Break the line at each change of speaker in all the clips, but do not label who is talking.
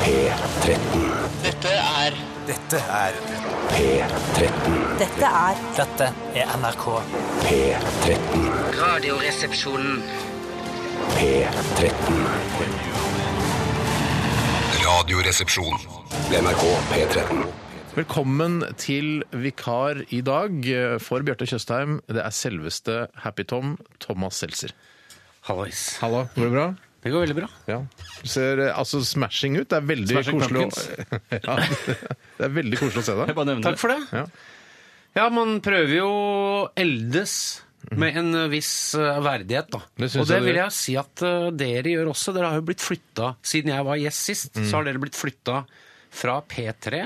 P13.
Dette er
Dette er
P13.
Dette er
Dette er NRK.
P13.
Radioresepsjonen.
P13.
Radioresepsjon.
NRK P13.
Velkommen til vikar i dag eh, for Bjarte Tjøstheim. Det er selveste Happy Tom, Thomas Seltzer.
Hallois.
Hallo, går det bra?
Det går veldig bra.
Ja. Du ser eh, altså smashing ut. Det er veldig
Smashing
koselig å... ja, Det er veldig koselig å se deg.
Takk for det.
Ja.
Ja, man prøver jo å eldes med en viss eh, verdighet, da.
Mhm. Det synes
og det
jeg dere-
vil jeg si at eh, dere gjør også. Dere har jo blitt flytta Siden jeg var gjest sist,
Mhm.
så har dere blitt flytta fra P3,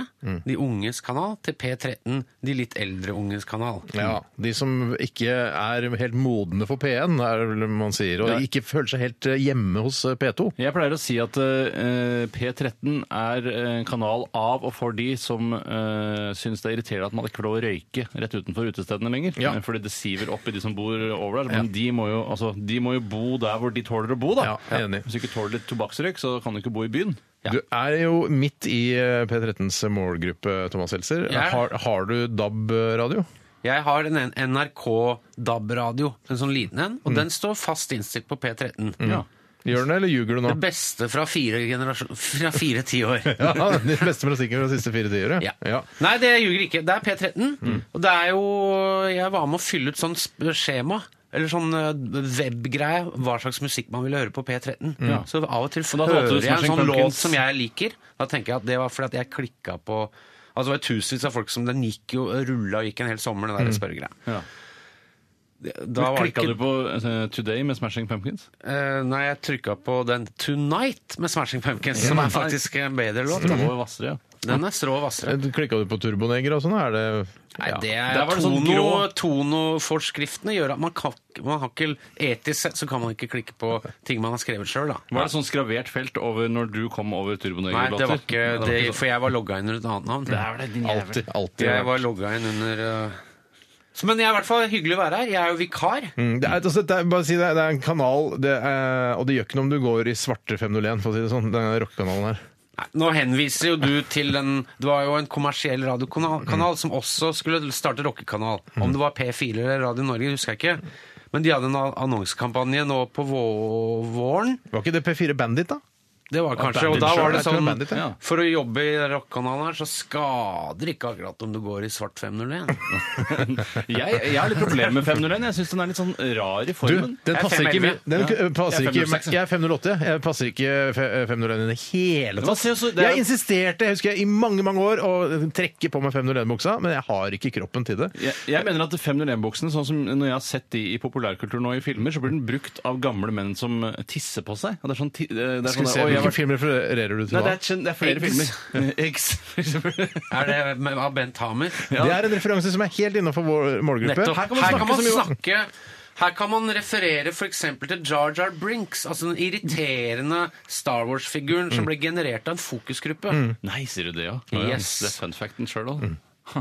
de unges kanal, til P13, de litt eldre unges kanal.
Ja, De som ikke er helt modne for P1, er det vel man sier, og ikke føler seg helt eh, hjemme hos eh, P2.
Jeg pleier å si at eh, P13 er en kanal av og for de som uh, syns det er irriterende at man ikke får lov å røyke rett utenfor utestedene lenger. eh,
Ja.
Fordi det siver opp i de som bor over der. Men de, må jo, altså, de må jo bo der hvor de tåler å bo, da.
Ja, jeg er enig.
Hvis du ikke tåler litt tobakksrøyk, så kan du ikke bo i byen.
Du er jo midt i eh, P13s målgruppe, Thomas Seltzer.
Jeg er det.
Har, har du DAB-radio?
Jeg har en en NRK DAB-radio, en sånn liten en,
Mhm.
og den står fast innstilt på P13.
Ja.
Gjør den det, eller ljuger du nå?
Det beste fra fire, generasjon- fra fire tiår.
Ja, Den beste musikken fra de siste fire tiåret?
Ja. Nei, det ljuger ikke. Det er P13.
Mm.
Og det er jo Jeg var med å fylle ut sånn sp- skjema. Eller sånn eh, webgreie, hva slags musikk man ville høre på P13. Så av og til
da valgte du
hører jeg en
Smashing
sånn låt
Pumpkins.
som jeg liker. Da tenker jeg at det var fordi at jeg klikka på Altså det var tusenvis av folk som den gikk jo rulla og gikk en hel sommer, den der
Mm.
spørregreia.
Ja.
Da var det
Klikka
ikke
du på eh, Today med Smashing Pumpkins?
eh, Nei, jeg trykka på den Tonight med Smashing Pumpkins, som er faktisk en bedre låt.
Det var vassere, ja.
Den er strå og vassere.
Klikka Eh, du på turboneger og sånn? Er det
Nei,
Ja.
det
Der
er
var det sånn
tono,
grå-
tonoforskriftene gjør at man, kan, man har ikke Etisk sett så kan man ikke klikke på ting man har skrevet sjøl, da.
Var det sånn skravert felt over når du kom
Nei,
over
det
Turboneger-låter?
var ikke det,
sånn.
for jeg var logga inn under et annet navn.
Alltid. alltid
Jeg
vært.
var logga inn under uh... så, Men jeg er i hvert fall hyggelig å være her. Jeg er jo vikar.
Mm, det er, altså, det er, bare å si det, er- det er en kanal, det er, og det gjør ikke noe om du går i svarte 501, for å si det sånn. Den rockekanalen her.
Nei, Nå henviser jo du til en Det var jo en kommersiell radiokanal kanal som også skulle starte rockekanal. Om det var P4 eller Radio Norge, husker jeg ikke. Men de hadde en annonsekampanje nå på vå- våren.
Var ikke det P4 Bandit, da?
Det var kanskje, og
Bandit
da
selv.
var det
Jeg tror
sånn
Bandit, ja.
For å jobbe i rockkanalen her, så skader ikke akkurat om du går i svart 501.
jeg, jeg har litt problemer med 501. Jeg syns den er litt sånn rar i
Du,
formen.
den
Jeg er
passer ikke,
511.
den k- passer
Jeg er
ikke
506, ja.
Jeg er 508, jeg. jeg passer ikke fe- 501 i det hele
Men
tatt.
se så- det er-
Jeg insisterte jeg husker jeg, i mange mange år å trekke på meg 501-buksa, men jeg har ikke kroppen til det.
Jeg, jeg mener at 501-buksene, sånn som når jeg har sett de i populærkultur nå i filmer, så blir den brukt av gamle menn som tisser på seg. Og det er sånn, ti- det er sånn
Skal vi
der,
se,
«Oi, jeg
Hvilken
var-
film refererer du til
Nei, det
da?
er, kjen- det er flere
Eggs.
filmer. Eggs, for eksempel.
Er det med, av Bent Hamer?
Det er en referanse som er helt innafor vår målgruppe.
Nettopp. Her kan man snakke,
som jo-
her kan man referere f.eks. til Jar Jar Brinks, altså den irriterende Star Wars-figuren
Mm.
som ble generert av en fokusgruppe.
Nei, sier du det, ja? Å, ja.
Yes.
Det er fun facten sjøl òg.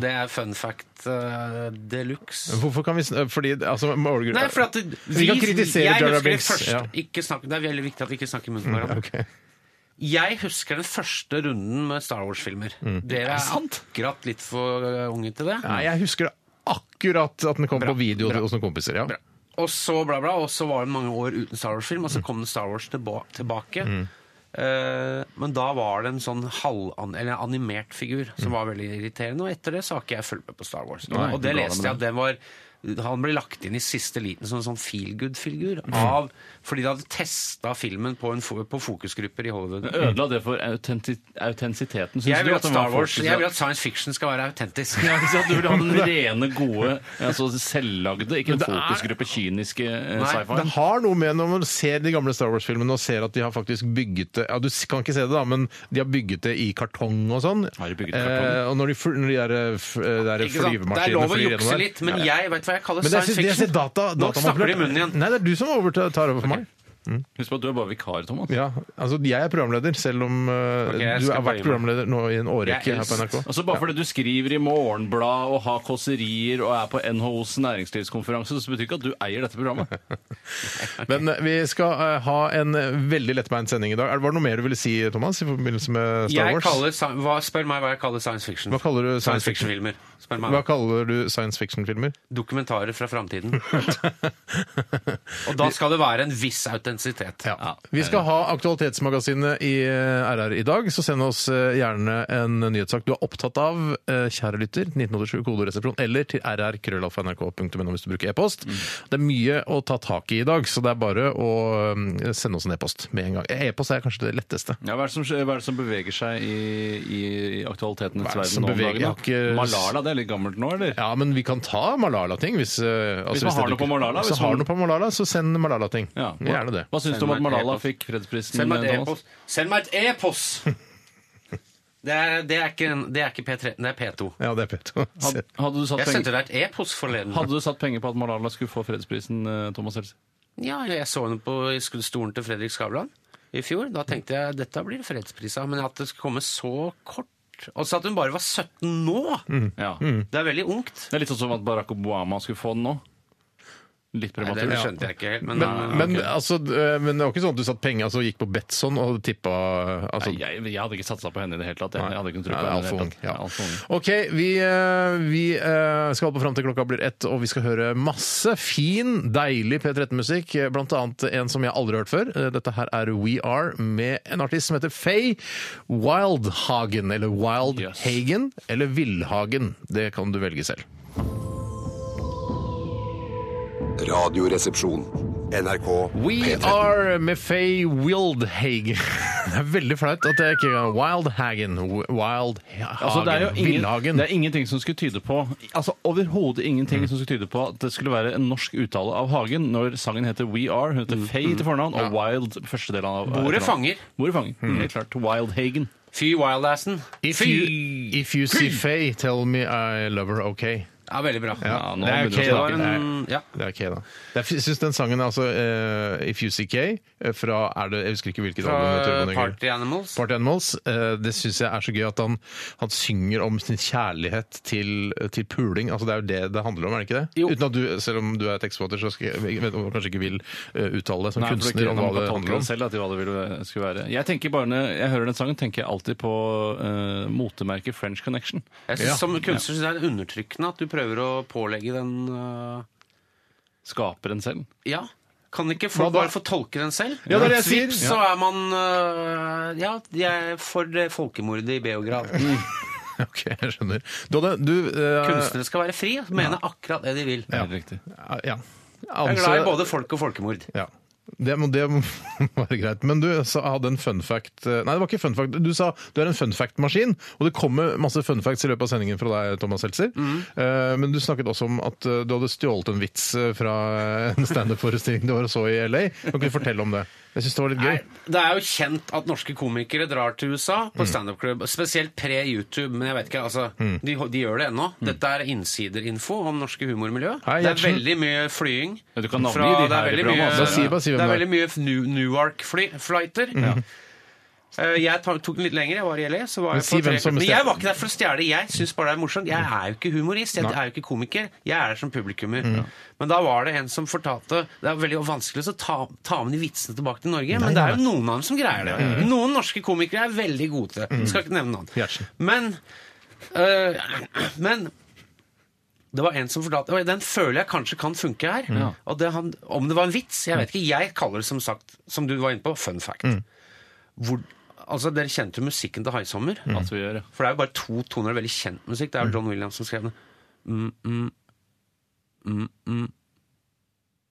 Det er fun fact uh, de luxe.
Hvorfor kan vi sn- Fordi altså, målgruppa
Nei, for at det-
Vi kan kritisere
jeg
Jar Jar
husker det
Binks,
først.
ja.
Ikke snakk, det er veldig viktig at vi ikke snakker i munnen på hverandre. Jeg husker den første runden med Star Wars-filmer. Dere Mm. er akkurat litt for eh, unge til det.
Nei, jeg husker det akkurat at den kom på video hos noen kompiser. Ja.
Og så bla, bla, og så var det mange år uten Star Wars-film, og så kom det Star Wars tilba tilbake. Eh, men da var det en sånn halvan, eller en animert figur som var veldig irriterende, og etter det så har ikke jeg fulgt med på Star Wars. og det leste jeg at den var han ble lagt inn i siste liten som en sånn feel good-figur. av- Fordi de hadde testa filmen på, en, fo- på fokusgrupper i Hollywood.
Ødela det for autenti- autentisiteten, syns
Jeg
du?
vil at,
den
Star
var
Wars,
for-
jeg vil at science fiction skal være autentisk.
Ja, ikke sant? Du vil ha den rene, gode, altså selvlagde, ikke en
det er-
fokusgruppe kyniske eh,
Nei,
Det
sci-fi.
har noe med når man ser de gamle Star Wars-filmene og ser at de har faktisk bygget det ja, Du kan ikke se det, da, men de har bygget det i kartong og sånn.
Har de bygget i kartong?
Eh, og når de, fly, når de der, eh, f- eh, der
Ikke sant?
flyvemaskinene
Det er lov å
flyr gjennom
jukse
der.
litt, men
Ja, ja.
jeg vet hva jeg kaller
Men det er,
science
det er,
fiction.
data,
Nå
datamanipulert.
snakker du i munnen igjen.
Nei, det er du som overtar over for meg.
Husk på at du er bare vikar, Thomas.
Ja, altså Jeg er programleder, selv om eh,
Ok, jeg
du
skal
har vært
bøye meg.
programleder nå i en
Jeg
årrekke
er
her på NRK.
Altså Bare fordi du skriver i Morgenblad og har kåserier og er på NHOs næringslivskonferanse, så betyr ikke at du eier dette programmet.
Men eh, vi skal eh, ha en eh, veldig lettbeint sending i dag. Er det- Var det noe mer du ville si, Thomas, i forbindelse med Star
Jeg
Wars?
kaller, sa- hva, spør meg hva jeg kaller science fiction.
Hva kaller du
science
science
fiction-filmer? Spør meg.
Hva kaller du science fiction-filmer?
Dokumentarer fra framtiden. Og da skal det være en viss autentisitet.
Ja.
Vi skal ha Aktualitetsmagasinet i eh, RR i dag, så send oss eh, gjerne en nyhetssak du er opptatt av, eh, kjære lytter, 1987 kodoresepsjon, eller til rrkrøllalfa.nrk.no hvis du bruker e-post.
Mm.
Det er mye å ta tak i i dag, så det er bare å eh, sende oss en e-post med en gang. E-post er kanskje det letteste.
Ja, hva, er det som, skje- hva er det som beveger seg i, i, i aktualitetenes
Hva er det som
verden nå om
beveger?
dagen? da?
Jeg har ikke-
Malala, det er litt gammelt nå, eller?
Ja, men vi kan ta Malala-ting. Hvis, eh, altså,
Hvis man har
det
noe
dukker-
på Malala,
Så
hvis
har
man-
du noe på Malala, så send Malala-ting.
Ja.
Gjerne det.
Hva syns
Send
du om
meg
at
et
Malala
e-post.
fikk fredsprisen? eh,
Send meg et
Thomas?
e-post! Send meg et e-post! Det er, det, er ikke, en- det er ikke P13, det er P2.
Ja, det er Peto.
Had, hadde, du satt
Jeg sendte
penger,
deg et e-post forleden.
hadde du satt penger på at Malala skulle få fredsprisene, eh, Thomas Helse?
Ja, eller jeg så henne på i sk- stolen til Fredrik Skavlan i fjor. Da tenkte jeg dette blir fredspris av, men at det skulle komme så kort Og så at hun bare var 17 nå!
Mm.
Ja.
Det er veldig ungt.
Det er litt sånn som at Barack Obama skulle få den nå. Litt
Nei,
prematurt.
det skjønte jeg ikke helt, men,
Men,
eh,
men,
ok.
altså, d- men det var ikke sånn at du satt penger altså, gikk på Betson og tippa altså,
Nei, jeg, jeg hadde ikke satsa på henne i det hele tatt. Jeg, jeg hadde ikke noe tro
Nei,
på
det
henne. i det
er altfor
hele
ung.
tatt.
Ja.
Jeg er alt for ung.
OK, vi, eh, vi eh, skal holde på fram til klokka blir ett, og vi skal høre masse fin, deilig P13-musikk. eh, Blant annet en som jeg aldri har hørt før. Eh, Dette her er We Are med en artist som heter Faye Wildhagen. Eller
Yes.
Wildhagen eller Villhagen. Det kan du velge selv.
Radioresepsjon.
NRK
We
P13.
Are med Faye Wildhagen. Det er veldig flaut at jeg ikke kan Wildhagen. Wildhagen.
Altså, det, er jo ingen,
Villhagen.
det er ingenting som skulle tyde på Altså Overhodet ingenting
Mm.
som skulle tyde på at det skulle være en norsk uttale av Hagen når sangen heter We Are. Hun
Mm.
heter Faye til fornavn og Wild første del av
Bordet
etternavn.
fanger.
Bordet fanger,
Mm.
Helt klart. Wild Hagen.
fy wildassen.
If
Fy!
you, if you see Faye, tell me I love her okay.
Ja, veldig bra.
Ja, nå
det er
begynner
ok,
vi å
Det var
snakke.
en, ja.
Det er okay, da. Det er- Jeg syns den sangen er altså eh, If You See Kay eh, fra er det, Jeg husker ikke hvilket album. det
Fra
er, Turbo Negro.
Party Animals.
Party Animals. eh, Det syns jeg er så gøy at han, han synger om sin kjærlighet til, til puling. Altså, det er jo det det handler om, er det ikke det?
Jo.
Uten at du, Selv om du er tekstforfatter, så skal, jeg vet du kanskje ikke vil eh, uttale deg som
Nei, for det er
kunstner
ikke-
om
man
hva
kan
det
tolke
handler om.
Selv, da, til hva det ville, eh, skulle være. Jeg tenker bare Når jeg hører den sangen, tenker jeg alltid på eh, motemerket French Connection.
Jeg synes, Som kunstner syns jeg det er undertrykkende at du prøver å pålegge den øh,
Skaper en selv.
Ja. Kan ikke folk
da?
bare få tolke den selv?
Ja, det er det jeg
Vips,
sier.
Så er man øh, Ja, jeg er for det folkemordet i Beograd.
Ok, jeg skjønner. Du hadde du, eh,
Kunstnere skal være fri og mene akkurat det de vil. Jeg
Ja. Mm.
Helt riktig.
eh, Ja.
er glad i både folk og folkemord.
Ja. Det må, det må være greit. Men du sa, hadde en fun fact eh, Nei, det var ikke fun fact. Du sa du er en fun fact-maskin, og det kommer masse fun facts i løpet av sendingen fra deg, Thomas Seltzer. Eh, Men du snakket også om at eh, du hadde stjålet en vits eh, fra en standup-forestilling du var og så i LA. Kan ikke du fortelle om det? Jeg syns det var litt gøy.
Nei, det er jo kjent at norske komikere drar til USA på
Mm.
standup-klubb. Spesielt pre-YouTube, men jeg vet ikke, altså, de, de gjør det ennå.
Mm.
Dette er innsiderinfo om norske humormiljø.
Hei,
det er
Gjertsen.
veldig mye flying.
Ja, du kan navngi
fra-
de
det er
her i
veldig
programmet,
mye-
altså.
Bare si- bare si
det
hvem
er
det er. Mm.
veldig mye New- Newark-flighter. Eh, Jeg tar- tok den litt lenger. Jeg var i LA. Så var
Men
jeg på
si hvem
tre-
som
men
bestemte.
jeg var ikke der for å stjele. Jeg syns bare det er morsomt. Jeg er jo ikke humorist. Jeg er jo ikke komiker. Jeg er der som publikummer. Men da var det en som fortalte Det er veldig vanskelig å ta, ta med de vitsene tilbake til Norge, men det er jo noen av dem som greier det. Noen norske komikere er veldig gode til det. Skal ikke nevne
Gjertsen.
navn. Men, øh, men det var en som fortalte og Den føler jeg kanskje kan funke her. Og det han, om det var en vits, jeg vet ikke. Jeg kaller det som sagt, som du var inne på, fun fact. Hvor, altså, dere kjente jo musikken til Haisommer.
At vi gjør det.
For det er jo bare to toner veldig kjent musikk. Det er jo John Williams som skrev den. Mm, mm, mm, mm.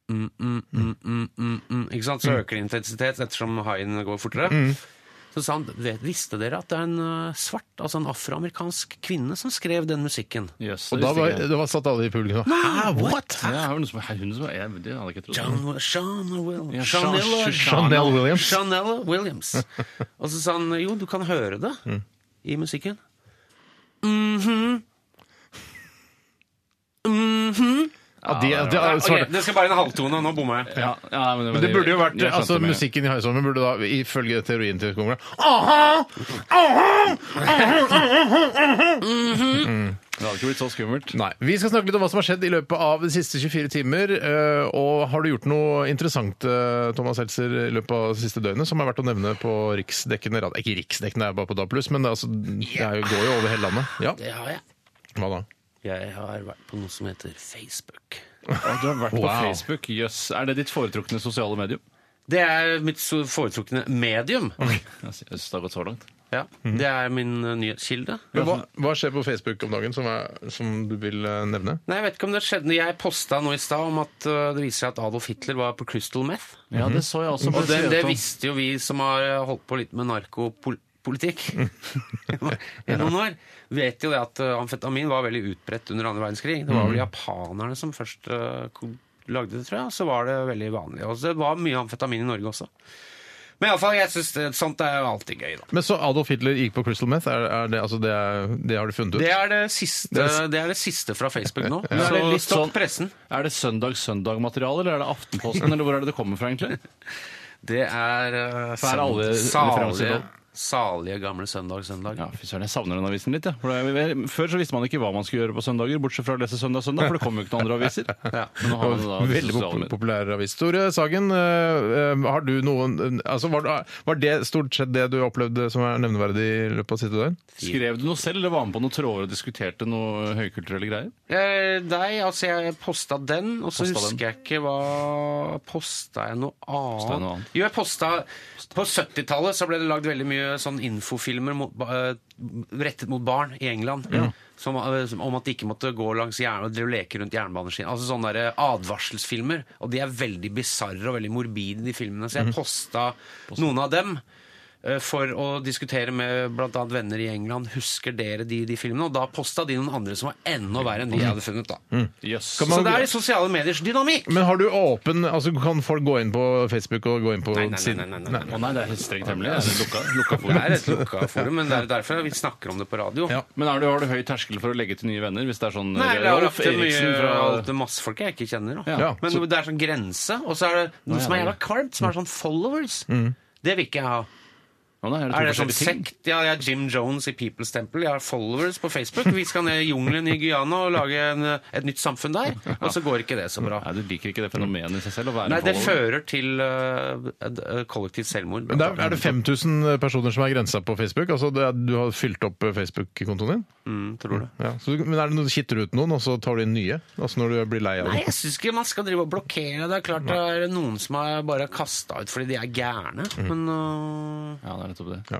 Mm, mm, mm, mm, mm, mm. Ikke sant? Så øker det intensitet ettersom haien går fortere. Så sa han, "Vet- Visste dere at det er en eh, svart, altså en afroamerikansk kvinne som skrev den musikken?
Yes,
Og
det
da
visste
var,
ikke jeg.
da var satt alle i publikum og Hæ, what?!
ja, det var noen som, her, hun som, jeg, Det hadde jeg ikke trodd.
John, Sean Will,
Ja,
Shanella-
Sean-
Chanel Williams.
Chanel Williams. Og så sa han jo, du kan høre det i musikken. Mhm. Mhm.
At de, at de,
Nei,
svarte-
ok, det skal bare en halvtone, nå bommer jeg.
Ja, ja, men,
Men det burde jo vært
jeg skjønte
altså
med-
Musikken i Haisommer burde da ifølge teorien til kongeren aha, aha,
Det hadde ikke blitt så skummelt.
Nei. Vi skal snakke litt om hva som har skjedd i løpet av de siste 24 timer. eh, Og har du gjort noe interessant eh, Thomas Seltzer, i løpet av det siste døgnet som er verdt å nevne på riksdekkende radio? Ikke riksdekkende, det er bare på DAB+, men det, er altså, det er jo- går jo over hele landet. Ja,
Det har jeg.
hva da?
Jeg har vært på noe som heter Facebook.
Du har vært på
Wow.
Facebook. Jøss. Er det ditt foretrukne sosiale medium?
Det er mitt so- foretrukne medium.
Jeg synes det har gått så langt.
Ja, det er min eh, nyhetskilde.
Men Hva,
altså-
hva skjer på Facebook om dagen som, er, som du vil eh, nevne?
Nei, Jeg vet ikke om det skjedde når jeg posta noe i stad om at eh, det viser seg at Adolf Hitler var på Crystal Meth.
Ja, det så jeg også.
Og det, det visste jo vi som har eh, holdt på litt med narkopolitikk i noen år. Vet jo det at eh, amfetamin var veldig utbredt under andre verdenskrig. Det
Mm.
var vel japanerne som først eh, ko- lagde det, tror jeg. og Så var det veldig vanlig. Og så det var mye amfetamin i Norge også. Men iallfall, jeg syns sånt er jo alltid gøy, da.
Men så Adolf Hitler gikk på Crystal Meth? Er, er det, altså det, er, det har du funnet ut?
Det er det siste,
Det er-
det er det siste fra Facebook nå. Nå
Ja.
er det litt
Så-
stopp
sånn-
pressen.
Er det søndag-søndag-materiale, eller er det Aftenposten, eller hvor er det det kommer fra, egentlig?
Det er eh,
For er alle referanser
salige,
nå?
salige gamle søndag, søndag.
Ja, fy søren, jeg savner den avisen litt, jeg. For det er- Før så visste man ikke hva man skulle gjøre på søndager, bortsett fra å lese Søndag Søndag, for det kom jo ikke noen andre aviser.
Ja.
Men nå har man da
Veldig
sosiale
pop
medier.
populær avis. Tore Sagen, eh, eh, har du noen altså var, var det stort sett det du opplevde som er nevneverdig i løpet av siste døgn?
Skrev du noe selv, eller var med på noen tråder og diskuterte noe høykulturelle greier?
Eh, nei, altså jeg posta den, og så
Posta
husker
den.
jeg ikke hva Posta jeg noe annet?
jeg noe annet?
Jo, jeg posta På 70-tallet så ble det lagd veldig mye sånn infofilmer mot, ba- eh, rettet mot barn i England. Som, eh, som, om at de ikke måtte gå langs jern, og drive og leke rundt jernbaneskinner. Altså sånne der advarselsfilmer. Og de er veldig bisarre og veldig morbide, de filmene. Så jeg posta noen av dem eh, for å diskutere med bl.a. venner i England husker dere de, de filmene. Og da posta de noen andre som var enda verre enn de jeg hadde funnet. da.
Jøss.
Så
Kan man-
det er de sosiale mediers dynamikk!
Men har du åpen altså Kan folk gå inn på Facebook og gå inn på
Nei, nei, nei,
siden?
nei, nei, nei.
Å nei, det er strengt hemmelig. Det er lukka, lukka
Det
forum.
er et lukka forum, men det er derfor vi snakker om det på radio.
Ja.
Men er du, har du høy terskel for å legge til nye venner? Hvis det er sånn
Nei, det er jo
Rolf
alltid mye
Eriksen
alt
fra
det masse folk jeg ikke kjenner. Da.
Ja,
men det er sånn grense, og så er det noe som er jævla kvalmt, som er sånn followers. Det vil ikke jeg ha.
Å nei, er det to
Er det sånn
forskjellige ting?
sekt? Ja, jeg er Jim Jones i People's Temple. Jeg har followers på Facebook. Vi skal ned i jungelen i Guyana og lage en, et nytt samfunn der. Og så går ikke det så bra.
Nei, Du liker ikke det fenomenet i seg selv? Å være
Nei, det
follower.
fører til øh, et, øh, kollektivt selvmord.
Men det er, er det 5000 personer som er grensa på Facebook? Altså det er, Du har fylt opp eh, Facebook-kontoen din?
Mm, tror du.
Ja. Så, du- men er det noe, Kitter du ut noen, og så tar du inn nye? Altså Når du blir lei av
Nei,
det?
jeg syns ikke man skal drive og blokkere. Det er klart det er noen som er bare kasta ut fordi de er gærne,
Mm.
men øh,
Ja, det er nettopp det.
Ja.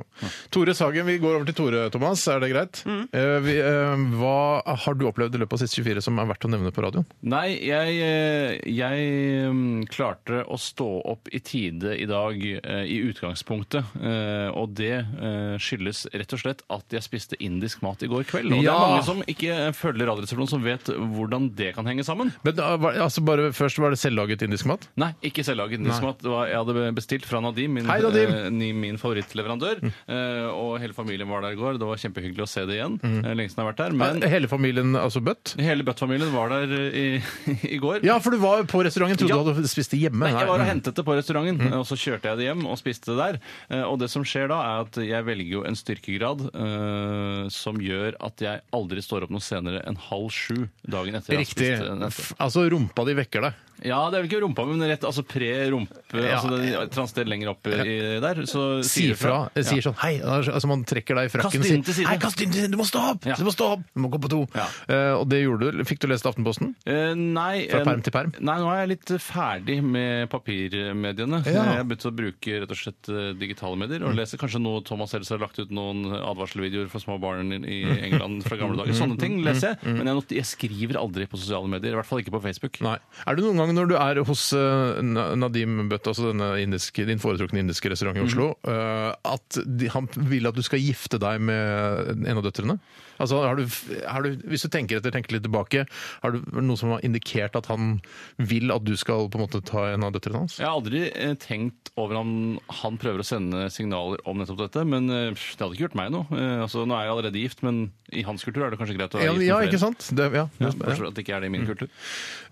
Tore Sagen, vi går over til Tore, Thomas. Er det greit? Eh, vi, eh, hva har du opplevd i løpet av siste 24 som er verdt å nevne på radioen?
Nei, jeg, eh, jeg mm, klarte å stå opp i tide i dag eh, i utgangspunktet. eh, Og det eh, skyldes rett og slett at jeg spiste indisk mat i går kveld. Og det
Ja!
er mange som ikke følger Radioresepsjonen, som vet hvordan det kan henge sammen.
Men da, var, altså bare Først var det selvlaget indisk mat?
Nei, ikke selvlaget indisk
Nei.
mat. Det var, jeg hadde bestilt fra Nadim, min,
Hei, Nadim! Mm.
eh, ni- min favorittleverandør. eh, og hele familien var der i går. Det var kjempehyggelig å se det igjen.
Mm.
eh, Lenge siden jeg har vært der. Men
Hele familien, altså Bøtt?
hele Bøtt-familien var der i, i går.
Ja, for du var jo på restauranten. Trodde
Ja.
du hadde spist det hjemme.
Nei, jeg var og
Nei.
hentet det på restauranten,
Mm.
og så kjørte jeg det hjem og spiste det der. Eh, Og det som skjer da, er at jeg velger jo en styrkegrad eh, som gjør at jeg aldri står opp noe senere enn halv sju dagen etter. jeg har
Riktig.
spist eh, den etter.
F- Altså, rumpa di vekker deg.
Ja, det er vel ikke rumpa, men rett altså pre-rumpe.
Ja.
Altså den transdel lenger opp i, der. Så
Sier fra.
Ja.
Sier sånn hei. Altså, man trekker deg i frakken og
Kast inn til
sier
siden.
hei, kast inn til siden! Du må stå opp!
Ja.
Du må stå opp! Du må gå på do.
Ja.
Eh, og det gjorde du. Fikk du lest Aftenposten?
Eh, nei,
Fra
eh,
perm til perm?
Nei, nå er jeg litt ferdig med papirmediene.
Ja. Mm.
Eh, Jeg har begynt å bruke rett og slett eh, digitale medier. Og leser kanskje noe Thomas Seltz har lagt ut noen advarselvideoer for små barn i- i England
Mm,
fra gamle dager. Sånne ting leser jeg. Men jeg, not jeg skriver aldri på sosiale medier. I hvert fall ikke på Facebook.
Nei. Er du noen gang gang når du er hos eh, Na- Nadim Bøtt, altså denne indiske, din foretrukne indiske restaurant i
Mm.
Oslo, eh, at de, han vil at du skal gifte deg med en av døtrene? Altså, har du, har du, hvis du tenker etter, tenker litt tilbake, har du noe som har indikert at han vil at du skal på en måte ta en av døtrene hans?
Jeg har aldri eh, tenkt over om han prøver å sende signaler om nettopp dette, men eh, pff, det hadde ikke gjort meg noe. Eh, Altså, nå er jeg allerede gift, men i hans kultur er det kanskje greit å være
Ja,
gift med
ja,
flere.
ikke sant? Det, ja.
Ja,
Ja.
Bortsett fra at det ikke er det i min kultur.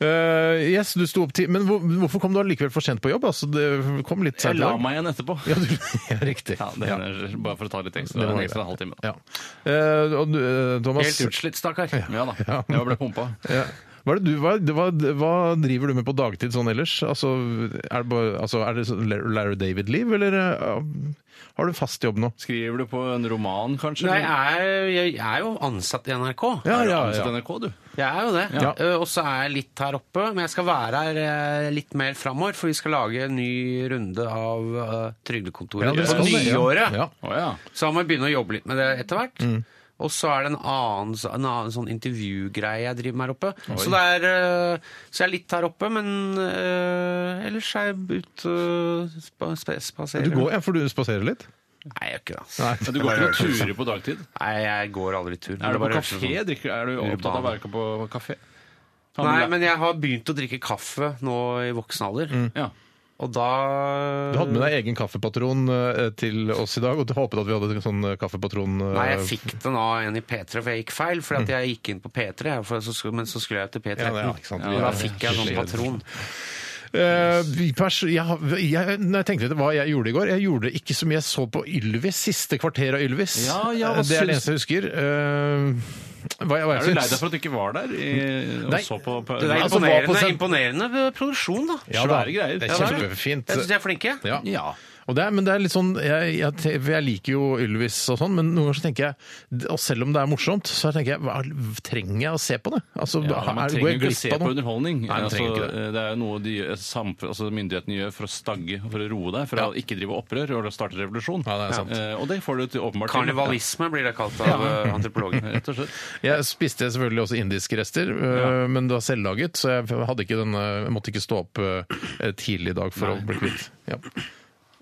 Eh, yes, du sto opp ti Men hvor, hvorfor kom du allikevel for sent på jobb? Altså, det kom litt
Jeg
sent i
la
dag.
meg igjen etterpå.
Ja, du, ja, riktig.
Ja, det er eh, Bare for å ta litt ekstra,
Det må
en
jeg
ekstra
gjøre.
halvtime. da.
Ja. Eh, og du, eh, Thomas
Helt utslitt, stakkar.
Ja da.
Ja.
Jeg ble pumpa.
Ja. Hva, er det du, hva, det- hva, hva driver du med på dagtid sånn ellers? Altså, er det, bare, altså, er det sånn Larry- Larry David-liv, eller eh, har du fast jobb nå?
Skriver du på en roman, kanskje?
Nei,
eller?
jeg er, jeg er jo ansatt i NRK.
Er du ansatt i NRK, du?
Jeg er jo det.
Ja.
Eh, Og så er jeg litt her oppe, men jeg skal være her eh, litt mer framover, for vi skal lage en ny runde av eh,
Ja,
Trygdekontoret
det
på
skal det, ja.
nyåret.
Ja.
Å ja.
Så jeg må begynne å jobbe litt med det etter hvert.
Mm.
Og så er det en annen, s- en annen sånn intervjugreie jeg driver med her oppe. Så, det er, eh, så jeg er litt her oppe, men eh, ellers er jeg ute og spa, spa, spaserer.
Du går, ja, for du spaserer litt?
Nei, jeg gjør ikke det. ass.
Nei.
Men du går ikke noen turer på dagtid?
Nei, jeg går aldri tur.
Er
Det
du på
bare høres ut
kafé?
som-
Drikker, er du opptatt av å være på kafé? Har du
Nei,
lært-
men jeg har begynt å drikke kaffe nå i voksen alder.
ja.
Og da
Mm. Du hadde med deg egen kaffepatron eh, til oss i dag, og du håpet at vi hadde en sånn eh, kaffepatron eh, Mm.
Nei, jeg fikk den av en i P3, for jeg gikk feil. Fordi at jeg gikk inn på P3, jeg, for så, skulle- men så skulle jeg til P13.
Ja, det er ikke sant.
Og da fikk jeg sånn patron.
Eh, vi pers jeg, har- jeg, når jeg tenkte etter hva jeg gjorde i går Jeg gjorde ikke så mye. Jeg så på Ylvis. Siste kvarter av Ylvis.
Ja, ja, hva
Eh, det er det
syns-
eneste jeg husker. Eh, hva, hva jeg
Er du lei
syns?
deg for at du ikke var der i, og
Nei.
så på, på
Det er
Altså, hva på
imponerende,
sen-
imponerende produksjon, da.
Ja,
Svære
da.
greier.
Det
Ja,
er
det er
kjempefint.
Jeg syns de er flinke.
Ja.
Ja.
Og det er, men det er litt sånn, jeg, jeg, te- for jeg liker jo Ylvis og sånn, men noen ganger så tenker jeg Og selv om det er morsomt, så tenker jeg hva, trenger jeg å se på det? Altså,
Ja,
er-
man
går
trenger
jeg
ikke å se
glipp av
på
noe?
underholdning.
Nei, man
altså,
trenger ikke det.
eh, det er jo noe de, gjør- samf- altså, myndighetene gjør for å stagge, for å roe deg, for å ikke drive opprør og starte revolusjon.
Ja, det er sant.
Eh, Og det får du til åpenbart til.
Karnevalisme blir det kalt av eh, antropologer.
Ja, Rett og slett.
Jeg spiste selvfølgelig også indiske rester, øh, men det var selvlaget, så jeg hadde ikke denne, jeg måtte ikke stå opp øh, tidlig i dag for å bli kvitt. Ja.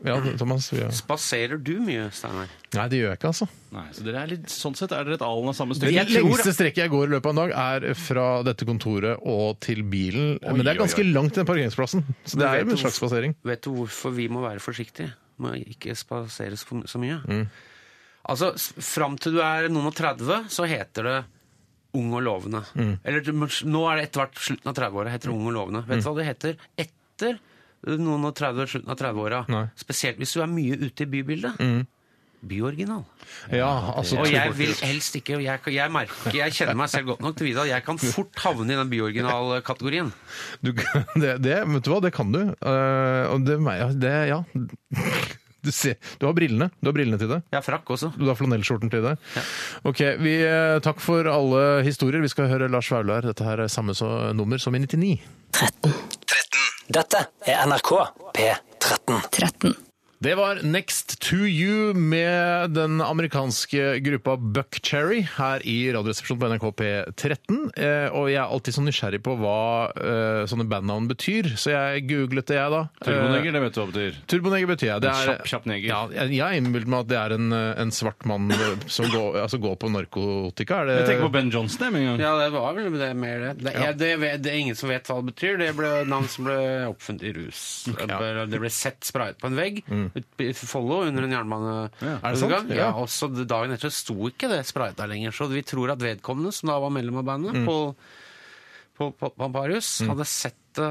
Ja, Thomas. Ja.
Spaserer du mye, Steinar?
Nei, det gjør jeg ikke, altså.
Nei, så dere er litt, sånn sett er dere et alen av samme
Det
stykke.
lengste strekket jeg går i løpet av en dag, er fra dette kontoret og til bilen. men det er ganske langt til den parkeringsplassen, så det er jo en slags spasering.
Vet du hvorfor vi må være forsiktige? Må ikke spasere så så mye.
Mm.
Altså, s- fram til du er noen og 30, så heter det Ung og lovende.
Mm.
Eller du må- nå er det etter hvert slutten av 30-åra heter det Ung og lovende. Vet du
Mm.
hva det heter etter noen og 30 slutten av 30-åra?
Nei. Mm.
Spesielt hvis du er mye ute i bybildet. Byoriginal.
Ja, altså,
Og jeg vil helst ikke og jeg, kan- jeg, merker, jeg kjenner meg selv godt nok til å vite at jeg kan fort havne i den byoriginal-kategorien.
Du, kan- det, det, vet du hva, det kan du. Eh, og det, meg- ja, det, ja. Du, ser, du har brillene. Du har brillene til det.
Jeg har frakk også.
Du har flanellskjorten til det. Ok, vi, eh, Takk for alle historier. Vi skal høre Lars Vaular. Dette her er samme så, nummer som i 99.
Dette er NRK P13.
13.
Det var Next to You med den amerikanske gruppa Buckcherry her i Radioresepsjonen på NRK P13. Eh, og jeg er alltid så nysgjerrig på hva eh, sånne bandnavn betyr, så jeg googlet det, jeg, da. Eh,
Turboneger, det vet du hva betyr.
Turboneger betyr jeg. Det
En
er,
kjapp- kjapp neger.
Ja, jeg jeg innbiller meg at det er en, eh, en svart mann som går, altså går på narkotika. Er det,
Jeg tenker på Ben Johnson jeg, med en gang.
Ja, det var vel det mer det. Det, er- det, vet- det er ingen som vet hva det betyr. Det ble navn som ble oppfunnet i rus. Det ble- Det ble sett sprayet på en vegg ut- i Follo under en
Er det sant?
jernbaneundergang. Mm. Ja.
Ja.
og så dagen etter sto ikke det sprayet der lenger. Så vi tror at vedkommende, som da var medlem av bandet, på, på, på Pamparius, hadde sett det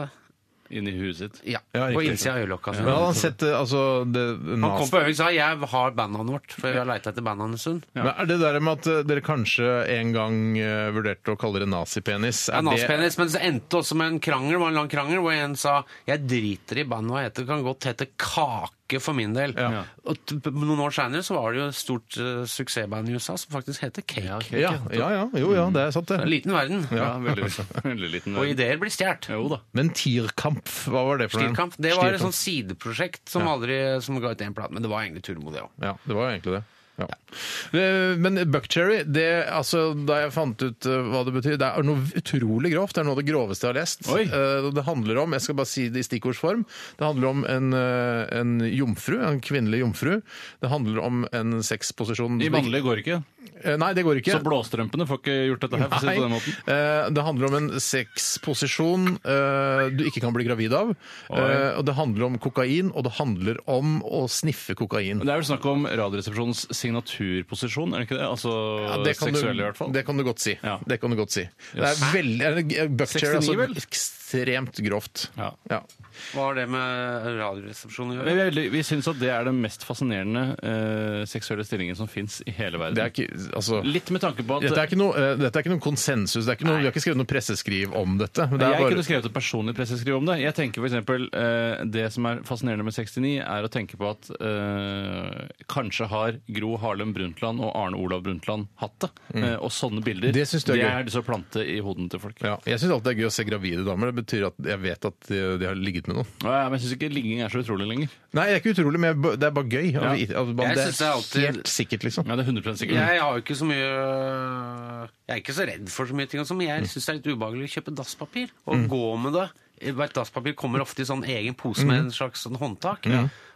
Inni huet sitt.
Mm. ja,
Ja,
på
riktig.
innsida av øyelokka.
Men hadde han sett eh, altså, det,
Han kom på øving og sa 'jeg har bandnavnet vårt', for vi har leita etter bandnavnet en stund.
Men er det der med at eh, dere kanskje en gang eh, vurderte å kalle det nazipenis?
Ja,
Er det-
Nazpenis, men det endte også med en krangel, det var en lang krangel, hvor en sa jeg driter i bandet hva jeg heter, det kan godt hete Kake for min del.
Ja.
Og t- p- noen år senere så var det jo et stort eh, suksessband i USA som faktisk heter Cake.
Ja, ja, ja, jo ja, det er sant
Det er en
det.
Liten verden.
Ja, veldig, veldig liten.
Og ideer blir stjålet.
Jo da.
Men Tierkampf, hva var det for noe?
Stilkamp. Det sånn- var et
Stierkamp.
sånt sideprosjekt som aldri som ga ut én plate, men det var egentlig Turbo, det òg.
Ja, det var jo egentlig det. Ja. Det- Men buckcherry, det, altså, da jeg fant ut eh, hva det betyr Det er noe utrolig grovt. Det er noe av det groveste jeg har lest.
Oi.
Eh, og Det handler om jeg skal bare si det i stikkordsform, det handler om en, eh, en jomfru, en kvinnelig jomfru. Det handler om en sexposisjon
I vanlige går ikke.
Eh, Nei, det går ikke.
Så blåstrømpene får ikke gjort dette her, for å si det på den
Nei.
måten.
Eh, Det handler om en sexposisjon eh, du ikke kan bli gravid av. Eh, Og det handler om kokain, og det handler om å sniffe kokain.
Men Det er vel snakk om Radioresepsjonens signaturposisjon, er det ikke det? Altså
Ja,
seksuell i hvert fall.
Det kan du godt si.
Ja.
Det kan du godt si. Det
Yes.
er veldig eh,
69
Buckcherry altså,
vel?
ekstremt grovt.
Ja.
Hva har det med Radioresepsjonen å
Men
gjøre?
vi, er veldig- vi syns at det er den mest fascinerende eh, seksuelle stillingen som fins i hele verden.
Det er ikke altså
Litt med tanke på at
dette er, ikke noe, eh, dette er ikke noen konsensus. Det er ikke noe, vi har ikke skrevet noe presseskriv om dette. men Det er
jeg
bare,
kunne skrevet et personlig presseskriv om det. Jeg tenker for eksempel, eh, Det som er fascinerende med 69, er å tenke på at eh, kanskje har Gro Harlem Brundtland og Arne Olav Brundtland hatt det. Eh, og sånne bilder
Mm. Det synes jeg er
det
gøy.
er det som planter i hodene til folk.
ja, jeg syns alltid det er gøy å se gravide damer. Det betyr at jeg vet at de, de har ligget med noen.
Ja, men jeg syns ikke ligging er så utrolig lenger.
Nei, det er ikke utrolig, men jeg ba- det er bare gøy.
Ja.
At vi- at man-
Jeg
det
synes det
er
er alltid-
helt sikkert, liksom.
Ja, det er 100 sikkert.
Jeg har jo ikke så mye Jeg er ikke så redd for så mye ting, og sånn, men jeg syns det er litt ubehagelig å kjøpe dasspapir og gå med det. Jeg vet, dasspapir kommer ofte i sånn egen pose med en slags sånn håndtak.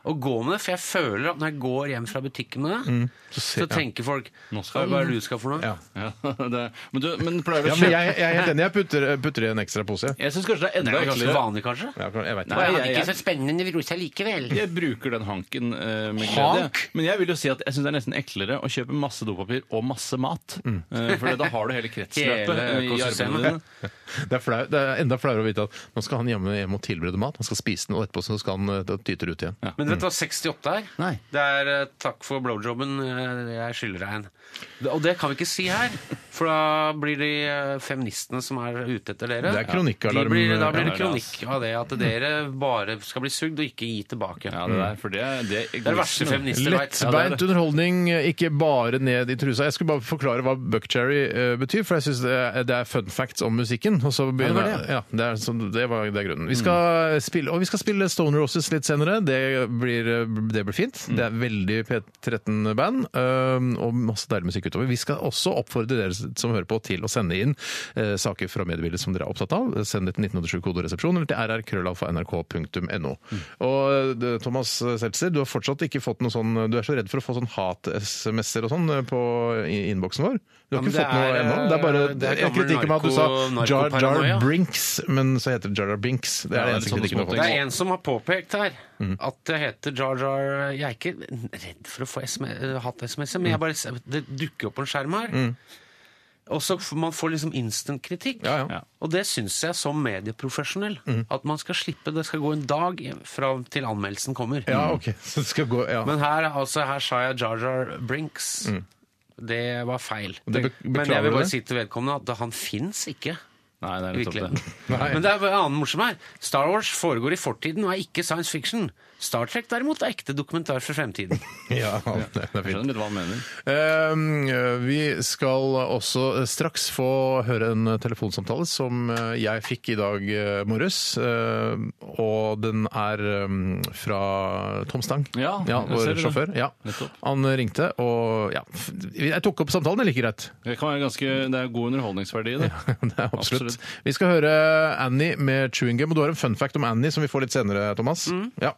Og gå med det, for jeg føler at når jeg går hjem fra butikken med det, så, tenker folk
Nå skal
Hva er det du skal for noe?
Ja.
Ja, det er, men du men pleier du
Ja,
å
men
kjøpe
jeg, jeg er helt enig. Jeg putter, putter i en ekstra pose. jeg.
Jeg syns kanskje det
Det
er enda
er jo ganske
eklere.
vanlig, kanskje?
Ja, jeg vet
Nei,
det.
Og jeg hadde
jeg-
ikke så spennende rosa likevel.
Jeg bruker den hanken eh, med glede.
Hank?
jeg. Men jeg vil jo si at jeg syns det er nesten eklere å kjøpe masse dopapir og masse mat. Eh, For da har du hele kretsløpet
Hele
eh, i
økosystemet.
armene dine.
Det er, flau, det er enda flauere å vite at nå skal han hjemme hjem og tilberede mat. Han skal spise den, og etterpå så skal han eh, da tyter ut igjen.
Men vet du hva 68 er?
Nei.
Det er eh, 'takk for blowjobben, eh, jeg skylder deg en'. Det- Og det kan vi ikke si her, for da blir de eh, feministene som er ute etter dere
Det er eh, kronikkalarm.
De blir, Da blir det
Ja, det er
kronikk av det at dere bare skal bli sugd og ikke gi tilbake.
Ja, det der, for det, er- det,
det er det verste feminister veit.
Ja, det er
Lettbeint
det.
underholdning, eh, ikke bare ned i trusa. Jeg skulle bare forklare hva buckcherry eh, betyr, for jeg syns det, er- det er fun facts om musikken. Og så
det Mm.
begynner
var det,
ja, det, er, så det, var, det er grunnen. Vi skal, eh, spille, og vi skal spille Stone Roses litt senere. Det blir, eh, det blir fint.
Mm.
Det er veldig P13-band, eh, og masse deilig musikk utover. Vi skal også oppfordre dere som hører på, til å sende inn eh, saker fra mediebildet som dere er opptatt av. Send det til 1987koderesepsjon eller til rrkrøllalfa.nrk.no. Og eh, Thomas Seltzer, du har fortsatt ikke fått noe sånn Du er så redd for å få sånn hat-SMS-er og sånn eh, på i- innboksen vår. Du
Ja,
har
men
ikke
det
fått noe
er, eh,
ennå. Det er bare
det er
jeg
gammel
kritikken med at du sa
narko-
Jar Jar
narkoparanoia.
Brinks, men så heter det Jar Jar Binks.
Ja,
Det
det
er det
er
eneste
sånne
kritikken du har
småting.
Det
fått.
er en som har påpekt her
Mm.
at jeg heter Jar Jar Jeg er ikke redd for å få SM hatt-SMS-er,
Mm.
men jeg bare, ser- det dukker opp på en skjerm her. Og så f- Man får liksom instant-kritikk.
Ja, Mm. ja.
Ja.
Og det syns jeg som medieprofesjonell. At man skal slippe Det skal gå en dag fra til anmeldelsen kommer.
Ja, ok. Så det skal gå, ja.
Men her, altså, her sa jeg Jar Jar Brinks. Det var feil.
Mm. Det be-
men
beklager
jeg vil
du
bare
det?
si til vedkommende at han fins ikke.
Nei, det er
Virkelig.
nettopp det.
Nei.
Men det er en annen morsom her. Star Wars foregår i fortiden og er ikke science fiction. Star Trek derimot er ekte dokumentar for fremtiden.
Ja, det er
Jeg
fint.
skjønner litt hva han mener.
Um, Vi skal også straks få høre en telefonsamtale som eh, jeg fikk i dag eh, morges. um, Og den er um, fra Tom Stang,
Ja, jeg ser
vår
det.
sjåfør. Ja.
Nettopp.
Han ringte, og ja, f- jeg tok opp samtalen, det er like greit.
Det, kan være ganske, det er god underholdningsverdi i det.
Det er absolutt.
Absolutt.
Vi skal høre Annie med chewing gum. Og du har en fun fact om Annie som vi får litt senere, Thomas. Ja.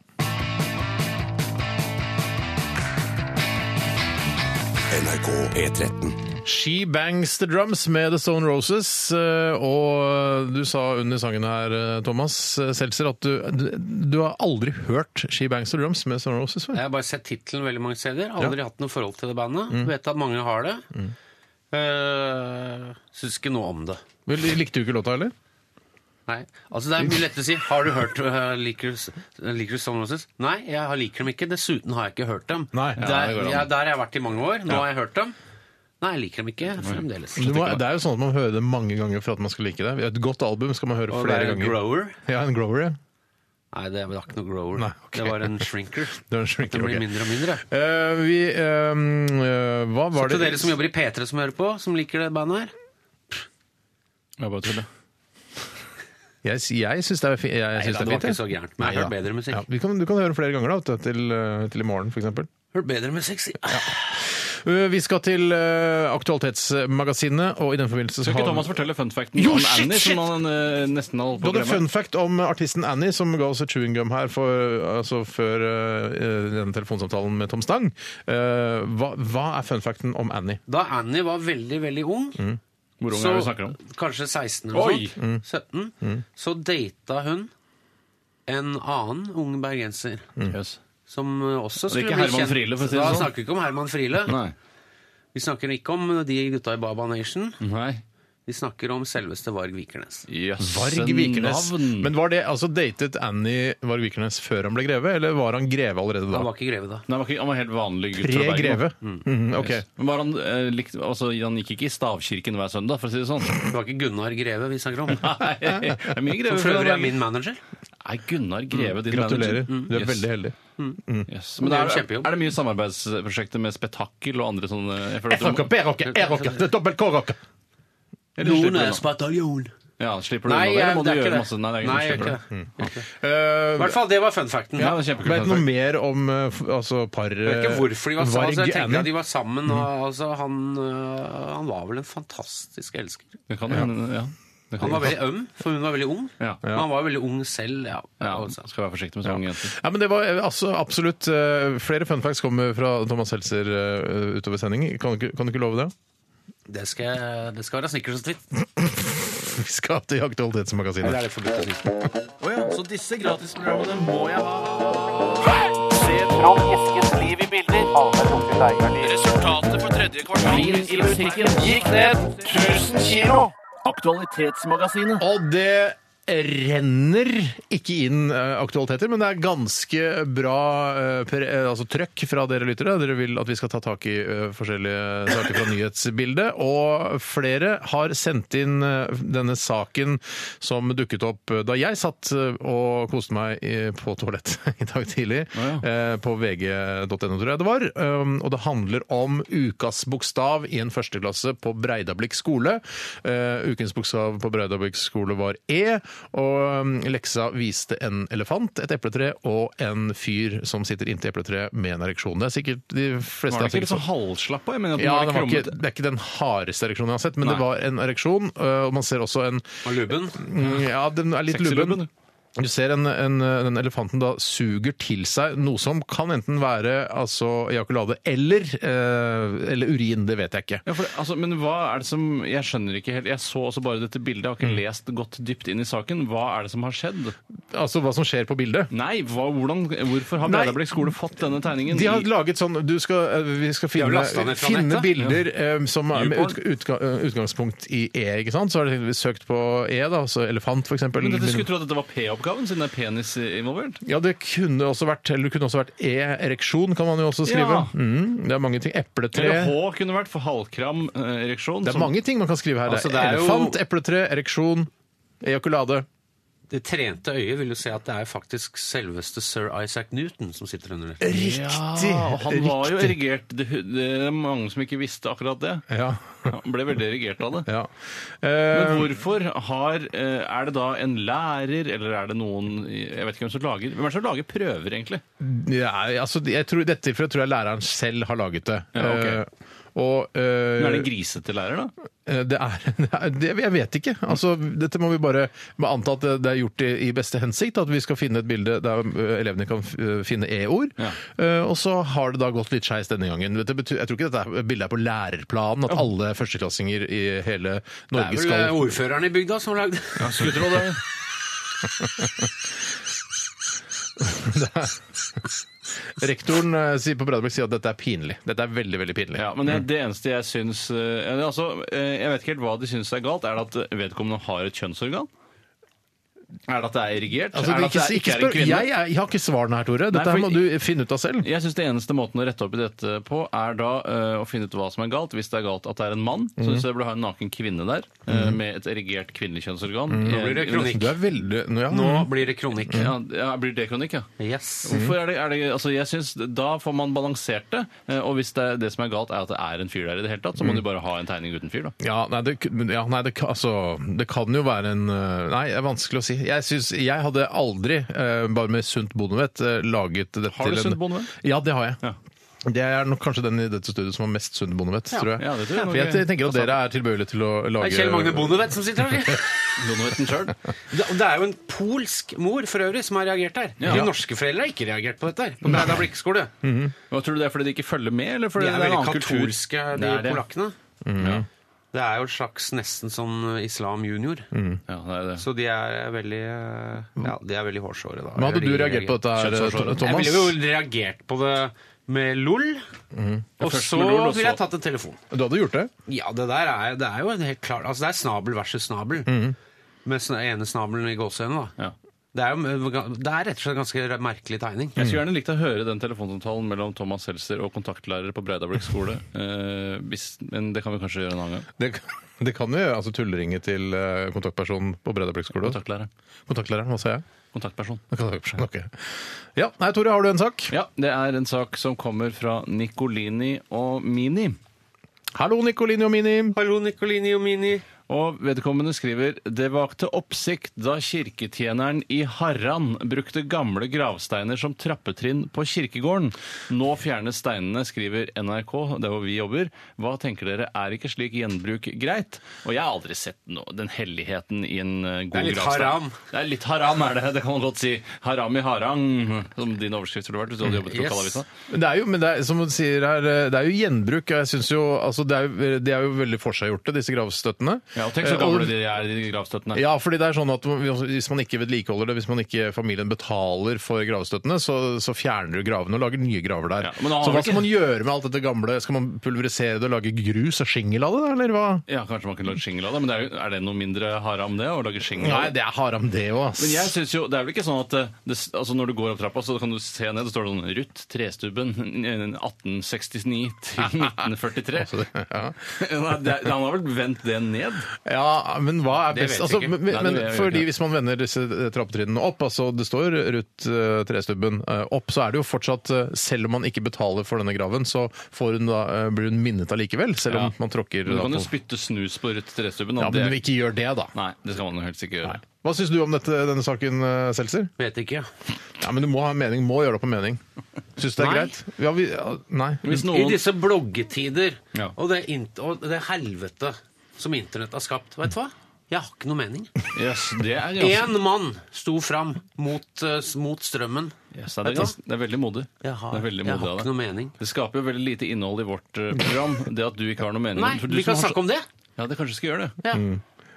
NRK P13.
She Bangs The Drums med The Stone Roses. eh, Og du sa under sangen her, eh, Thomas eh, Seltzer, at du, du- du har aldri hørt She Bangs The Drums med Stone Roses før.
Jeg har bare sett tittelen veldig mange steder. Aldri hatt noe forhold til det bandet. Vet at mange har det. Mm. Syns ikke noe om det.
Vel, Likte du ikke låta heller?
Nei. Altså Det er mye lettere å si 'Har du hørt eh, liker, du- liker du Stone Roses?' Nei, jeg liker dem ikke. Dessuten har jeg ikke hørt dem.
Nei, ja,
der,
det går an.
ja, der har jeg vært i mange år. Nå har jeg hørt dem. Nei, jeg liker dem ikke fremdeles.
Du må, det er jo sånn at man hører det mange ganger for at man skal like det. Et godt album skal man høre
Og
flere
det er
ganger.
Grower.
Ja, en grower, ja.
Nei, det var ikke noe grower.
Nei, ok.
Det var en shrinker.
Det er en shrinker,
Det blir
ok.
mindre og mindre.
Eh, vi eh, eh, Hva var
Så
det
til dere som jobber i P3 som hører på, som liker det bandet her.
Jeg bare tuller.
Jeg, sy- jeg syns det er fint. Jeg,
Nei,
syns
da, det
det
var
er
ikke
fint,
så
jeg.
gærent. Men jeg har hørt bedre musikk.
eh, Ja, vi kan, du kan høre den flere ganger da, til, til i morgen, f.eks.
Ah, Hørt bedre musikk, si.
Uh, Vi skal til uh, Aktualitetsmagasinet, og i den forbindelse så
Skal ikke
har
Thomas
vi
fortelle fun facten
Jo,
om
shit,
Annie,
shit!
som han eh, nesten har holdt
du
på å
hadde
glemme?
fun fact om artisten Annie som ga oss et chewing gum her for, altså før uh, denne telefonsamtalen med Tom Stang. Uh, hva, hva er fun facten om Annie?
Da Annie var veldig, veldig ung,
Mm. Hvor ung
så
er det vi snakker om?
kanskje 16
Oi! Mm.
eller noe sånt, 17, så data hun en annen ung bergenser
Yes.
som også
Det
skulle
er ikke
bli
Herman
kjent.
Friele, for å si det
da
sånn.
snakker vi ikke om Herman Friele.
Nei.
Vi snakker ikke om de gutta i Baba Nation.
Nei.
Vi snakker om selveste Varg Vikernes.
Jøss,
Varg
en
Vikernes.
navn.
Men var det altså datet Annie Varg Vikernes før han ble greve, eller var han greve allerede
Han
da?
var ikke greve da.
Nei, han var ikke- han var helt vanlig gutt fra Bergen. Mm.
Pre-greve. Mhm, ok.
Yes. Men var han, eh, likt, altså, han gikk ikke i stavkirken hver søndag, for å si det sånn.
Det var ikke Gunnar Greve vi snakker om.
Nei, det er mye greve.
Som for øvrig er min manager.
Nei, Gunnar Greve, din
Mm. Gratulerer.
manager. Mm.
Du er
Yes.
veldig heldig.
Yes. Men
Det er
er,
jo
er,
kjempejobb.
det mye samarbeidsprosjekter med Spetakkel og andre sånne jeg føler at du må-
F-rocker, B-rocker, E-rocker, det er dobbelt K-rocker!
Eller slipper du unna?
bataljon.
Ja, slipper du
Nei,
unna det,
jeg,
eller
det
må du
er ikke
gjøre
det.
masse Nei, det er
Nei, jeg
ikke
gjør
slipper
ikke
det.
det. I
Uh,
hvert fall, det var fun facten.
Ja, det er kjempekult.
Vet du noe mer om eh, f- altså, par eh,
Jeg vet ikke hvorfor de var sammen. Altså, jeg tenker
Annie?
at de var sammen.
Mm.
Og, altså, han, øh, han var vel en fantastisk elsker.
Det kan hende, ja. Det kan
Han var
hende.
veldig øm, for hun var veldig ung.
Ja.
Men han var veldig ung selv. Ja,
Ja,
altså.
skal være forsiktig med så unge jenter.
Ja, men det var eh, altså, absolutt eh, Flere fun facts kommer fra Thomas Seltzer eh, utover sending. Kan du, ikke- kan du ikke love det?
Det, skal, det skal være snickers og tvitt.
Vi skal til
Eller
Aktualitetsmagasinet.
er det forbudt å si?
Så disse gratisprogrammene må jeg ha. Resultatet for tredje kvartal gikk ned 1000 kilo. Aktualitetsmagasinet.
Og det renner ikke inn eh, aktualiteter, men det er ganske bra eh, pre, eh, altså, trøkk fra dere lyttere. Dere vil at vi skal ta tak i eh, forskjellige saker fra nyhetsbildet. Og flere har sendt inn eh, denne saken som dukket opp eh, da jeg satt eh, og koste meg i- på toalettet i dag tidlig.
Å, ja.
eh, På vg.no, tror jeg det var. Um, Og det handler om ukas bokstav i en førsteklasse på Breidablikk skole. Eh, Ukens bokstav på Breidablikk skole var E, og um, leksa viste en elefant, et epletre og en fyr som sitter inntil epletreet med en ereksjon. Det er sikkert de
Var
fleste
det ikke
har
litt
sikkert
sånn halvslappa? Jeg mener at den
ja,
var
det, var ikke,
krummet.
det er ikke den hardeste ereksjonen jeg har sett, men
Nei.
det var en ereksjon. øh, Og man ser også en
Og lubben.
Mm, Ja, den er litt
Sexy
lubben.
lubben.
Du ser en, en, den elefanten da suger til seg noe som kan enten være altså, ejakulade eller, eh, eller urin. Det vet jeg ikke.
Ja, for det, altså, men hva er det som Jeg skjønner ikke helt. Jeg så også bare dette bildet, jeg har ikke
Mm.
lest godt dypt inn i saken. Hva er det som har skjedd?
Altså hva som skjer på bildet.
Nei, hva, hvordan, hvorfor har
Nei.
Breidablikk skole fått denne tegningen?
De har
i-
laget sånn du skal, eh, Vi skal
har
finne,
lastet ned fra
finne
nettet.
bilder eh, som er med
Newport.
utga- utga- eh, utgangspunkt i E. ikke sant? Så har de søkt på E, da, altså elefant f.eks.
men dette skulle tro at dette var P-oppgaven, siden det er penis involvert.
Ja, det kunne også vært eller det kunne også vært E-ereksjon, kan man jo også skrive.
Ja.
Mm, det er mange ting. E. Epletre.
Eller H kunne vært for halvkram eh, ereksjon.
Det er
som-
mange ting man kan skrive her.
Altså,
det
det
er
er jo-
elefant, epletre, ereksjon, ejakulade.
Det trente øyet vil jo se at det er faktisk selveste sir Isaac Newton som sitter under der.
Riktig!
Ja, og han var jo erigert. Det, det er mange som ikke visste akkurat det.
Ja.
Han ble veldig erigert av det.
ja.
Men
Eh,
hvorfor har eh, Er det da en lærer, eller er det noen Jeg vet ikke hvem som lager Hvem er det som lager prøver, egentlig?
ja, altså, jeg tror, I dette tilfellet tror jeg læreren selv har laget det.
Ja, ok.
Eh, og eh,
Men er det en grisete lærer, da?
eh, det er, det er det, Jeg vet ikke. Altså, dette må vi bare må anta at det, det er gjort i, i beste hensikt. At vi skal finne et bilde der eh, elevene kan f- eh, finne e-ord.
Ja.
Eh, og så har det da gått litt skeis denne gangen. Dette betyr, jeg tror ikke dette er- bildet er på lærerplanen, at alle førsteklassinger i
Det
hele
er
Norge
vel
skal
eh, ordføreren i bygda som lagde
Ja, skulle tro det.
Rektoren eh, sier på Bredeblikk sier at dette er pinlig. Dette er veldig, veldig pinlig.
Ja, men det, det eneste jeg syns eh, altså, eh, Jeg vet ikke helt hva de syns er galt. Er det at vedkommende har et kjønnsorgan? Er det at det er erigert?
Altså,
er det at
ikke,
det
ikke
er en
spør, jeg,
kvinne?
er, jeg har ikke svarene her, Tore. Dette
Nei,
her må
fordi-
du finne ut av selv.
Jeg synes det eneste måten å rette opp i dette på, er da eh, å finne ut hva som er galt. Hvis det er galt at det er en mann,
Mhm.
så synes jeg det burde ha en naken kvinne der, eh, med et erigert kvinnelig kjønnsorgan.
Mhm.
Nå blir det kronikk.
Du er veldig nå, ja.
Nå blir det kronikk.
Ja, ja, blir det kronikk, ja.
Yes.
Mhm.
Hvorfor er det, er det, altså jeg synes Da får man balansert det, eh, og hvis det, er- det som er galt er at det er en fyr der i det hele tatt, så
Mhm.
må du bare ha en tegning uten fyr, da.
Ja, nei, det, men ja, nei det, kan- altså, det kan jo være en øh, Nei, det er vanskelig å si. Jeg, synes, jeg hadde eh, aldri, øh, bare med sunt bondevett, øh, laget dette
Har du
til en
sunt bondevett?
Ja, det har jeg.
Ja.
Det er nok kanskje den i dette studioet som har mest sunn bondevett, tror jeg.
ja, det tror jeg nok.
For jeg tenker at dere er tilbøyelige til å
Det
lage
er Kjell Magne Bondevedt som sitter her.
Bondevetten sjøl.
Det det er jo en polsk mor for øvrig som har reagert her.
Ja.
De norske foreldrene har ikke reagert på dette her. På Breida blikkskole.
Hva tror du det er fordi de ikke følger med, eller fordi
De
det
er
er, en
veldig
annen kultur?
katolske, de
Det er det. Mm.
polakkene.
Ja.
Det er jo et slags nesten som islam junior.
Ja, det er det.
Så de er veldig eh, Ja, de er veldig hårsåre, da.
Men hadde
Eller
du
de
reagert på dette, her,
Kjønnshårsåre.
Thomas?
Jeg ville jo reagert på det med LOL,
Mhm.
og
Først
så
med LOL, og
ville jeg
så-
tatt en telefon.
Du hadde gjort det?
Ja, det der er, det er jo en helt klart Altså, det er snabel versus snabel.
Mhm.
Med sna- ene snabelen i gåsehøyne, da.
Ja.
Det er, jo, det er rett og slett ganske merkelig tegning.
Jeg skulle gjerne likt å høre den telefonsamtalen mellom Thomas Seltzer og kontaktlærer på Breidablikk skole. Eh, hvis, men det kan vi kanskje gjøre en annen gang.
Det, det kan jo gjøre. Altså tulleringe til eh, kontaktpersonen på Bredabliks skole.
Kontaktlærer.
Kontaktlæreren, hva sa jeg?
Kontaktperson.
Kontaktpersonen, ok. Ja, nei, Tore, har du en sak?
Ja, det er en sak som kommer fra Nicolini og Mini.
Hallo, Nicolini og Mini.
Hallo, Nicolini og Mini.
Og vedkommende skriver Det vakte oppsikt da kirketjeneren i Harran brukte gamle gravsteiner som trappetrinn på kirkegården. Nå fjernes steinene, skriver NRK, der hvor vi jobber. Hva tenker dere, er ikke slik gjenbruk greit? Og jeg har aldri sett no, den helligheten i en eh, god
Det er
gravstein.
litt haram.
Det er litt haram, er det. Det kan man godt si. Haram i harang, som din overskrift skulle vært hvis du hadde jobbet i
Yes.
lokalavisa.
Men Det er jo, men det er, som hun sier her, eh, det er jo gjenbruk. og Jeg synes jo, altså, det er jo, De er jo veldig forseggjorte, disse gravstøttene.
Ja, og tenk så
Eh, og-
gamle de er, de gravstøttene.
Ja, fordi det er sånn at hvis man ikke vedlikeholder det, hvis man ikke familien betaler for gravstøttene, så, så fjerner du gravene og lager nye graver der.
Ja, men da har
så
vi
hva skal
ikke-
man gjøre med alt dette gamle? Skal man pulverisere det og lage grus og skingel av det, da, eller hva?
Ja, Kanskje man kunne lagd shingle av det, men det er, jo- er det noe mindre haram, det? å lage shingle av
Nei,
det?
det er haram det òg, ass.
Men jeg synes jo, det er vel ikke sånn at eh, det, s- altså når du går opp trappa, så kan du se ned, det står det sånn Ruth Trestubben 1869 til 1943.
Altså, det- ja.
Nei, det, han har vel vendt det ned?
ja, men hva er
Det
best
vet jeg
altså,
ikke.
men,
Nei, det
men,
vet jeg
fordi
ikke.
Hvis man vender disse eh, trappetrinnene opp, altså det står Ruth eh, Trestubben eh, opp, så er det jo fortsatt eh, Selv om man ikke betaler for denne graven, så får hun da, eh, blir hun minnet allikevel, selv om
Ja.
man tråkker
Du
da
kan jo
på
spytte snus på Ruth Trestubben. og
Ja,
det
men
er-
ikke gjør det, da.
Nei, det skal man jo helst ikke gjøre.
Hva syns du om dette, denne saken, eh, Seltzer?
Vet ikke.
Ja, men Du må ha en mening, må gjøre det på mening. Syns du det er
Nei.
greit? Ja, vi, ja, nei.
Hvis
I
noen
disse bloggetider
Ja.
og, det int og det helvete som internett har skapt, vet du hva? Jeg har ikke noe mening.
yes, det er ganske
Én mann sto fram mot, eh, s- mot strømmen.
yes, det, er,
Vet du hva?
det er veldig modig.
Jeg har,
det er veldig
jeg
modig
har
av
ikke
deg.
noe mening.
Det skaper jo veldig lite innhold i vårt eh, program, det at du ikke har noe mening.
Nei,
For du
vi
som
kan
har så- Mm.
snakke om det.
Ja, det kanskje skal gjøre det.
Ja.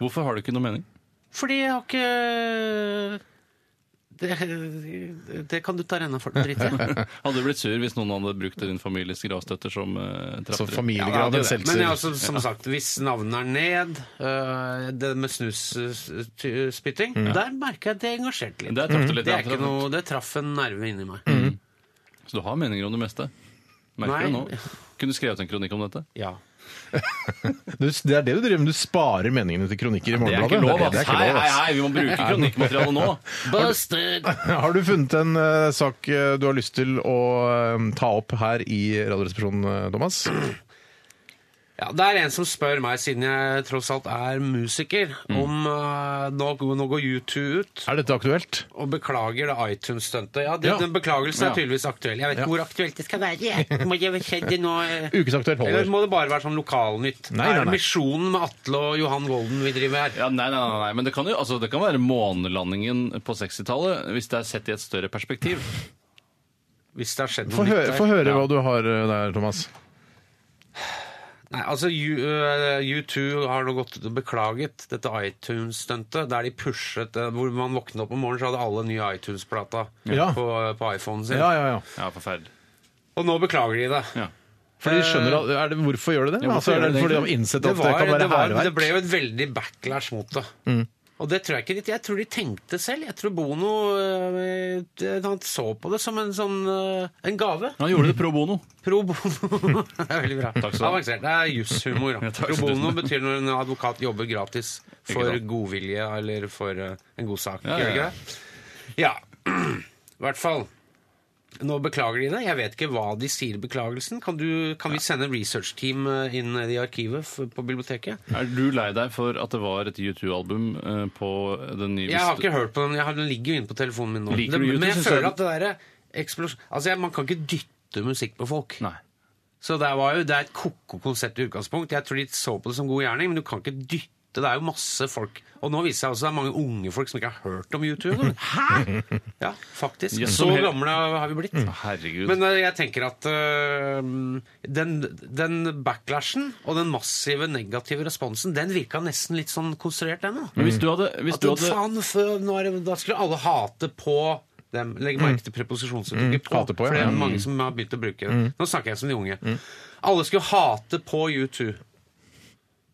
Hvorfor har du ikke noe mening?
Fordi jeg har ikke eh, det, det kan du ta renna for. Drit i.
Hadde du blitt sur hvis noen hadde brukt din families gravstøtter som uh,
Så
trappetrinn?
familiegraven
Ja, det er det.
Seltzer.
Men jeg, også, som sagt, hvis navnet er ned, øh, det med snusspytting,
Mm.
der merker jeg at det engasjerte litt.
Der traff du litt,
Mm. Det,
ja,
er ikke
traff-
noe, det traff en nerve inni meg.
Mm. Så du har meninger om det meste? Merker du
Nei.
nå? Kunne du skrevet en kronikk om dette?
Ja.
Du, det er det du driver med. Du sparer meningene til kronikker i Morgenbladet.
ass. Hei, hei, hei, vi må bruke kronikkmaterialet nå!
Busted!
Har du funnet en eh, sak eh, du har lyst til å eh, ta opp her i Radioresepsjonen, eh, Thomas?
Ja, det er en som spør meg, siden jeg tross alt er musiker,
Mm.
om øh, nå, nå går U2 ut
Er dette aktuelt?
og beklager det iTunes-stuntet. Ja, det,
Ja.
Den beklagelsen
Ja.
er tydeligvis aktuell. Jeg vet ikke hvor aktuelt det skal være. jeg. Må det skjedde nå... øh,
Ukesaktuelt
Eller
holder.
må det bare være sånn lokalnytt?
Nei, nei,
Er det
nei.
misjonen med Atle og Johan Golden vi driver her?
Ja, nei, nei, nei, nei, men det kan jo altså, det kan være månelandingen på 60-tallet, hvis det er sett i et større perspektiv.
Hvis det har skjedd
Få
noe nytt
høre,
der.
få
Ja.
høre hva du har eh, der, Thomas.
Nei, altså, U- øh, U2 har nå gått ut og beklaget dette iTunes-stuntet, der de pushet eh, Hvor man våknet opp om morgenen, så hadde alle nye iTunes-plata
Ja.
på, eh, på iPhonen sin.
Ja, ja, ja.
Ja, forferdelig.
Og nå beklager de det.
Ja.
Fordi de skjønner, at- er det, hvorfor gjør de det?
Ja, hvorfor
altså, er
gjør de
det
det
fordi de har
egentlig?
innsett
Det,
at det
var, det,
kan være
var, det
hærverk?
ble jo et veldig backlash mot det. Og det tror jeg ikke de Jeg tror de tenkte selv. Jeg tror Bono øh, det- han så på det som en sånn øh, en gave.
Han gjorde det pro bono.
Pro bono. det er veldig bra.
skal du ha.
Avansert. Det er jusshumor. da.
Ja, takk
Pro
skal du
bono
ha.
betyr når en advokat jobber gratis for
Ikke sant.
godvilje eller for eh, en god sak.
Ja,
Gjør det
ja.
ikke det? Ja. I hvert fall. Nå beklager de det. Jeg vet ikke hva de sier i beklagelsen. Kan, du, kan vi sende researchteam eh, inn i arkivet f- på biblioteket?
Er du lei deg for at det var et U2-album eh, på den nye
Jeg har ikke hørt på den. Jeg har, den ligger jo inne på telefonen min nå.
Liker du
det,
YouTube,
men jeg
synes
føler
jeg?
at det derre eksplosjon... Altså, jeg, man kan ikke dytte putte musikk på folk.
Nei.
Så det, var jo, det er et ko-ko konsept i utgangspunkt. Jeg tror de så på det som god gjerning, men du kan ikke dytte. Det er jo masse folk. Og nå viser det seg også at det er mange unge folk som ikke har hørt om YouTube. Hæ?! Ja, faktisk.
Ja,
så
som Mm. hele-
gamle har vi blitt.
Herregud.
Men eh, jeg tenker at eh, den, den backlashen og den massive negative responsen, den virka nesten litt sånn konstruert, den. da.
Men hvis du hadde, hvis
At
du hadde
faen, for, nå er det, da skulle alle hate på dem. Legg
Mm.
merke til preposisjonsuttrykket på,
hate på, ja.
for det er mange som har begynt å bruke det.
Mm.
Nå snakker jeg som de unge. Alle skulle hate på U2.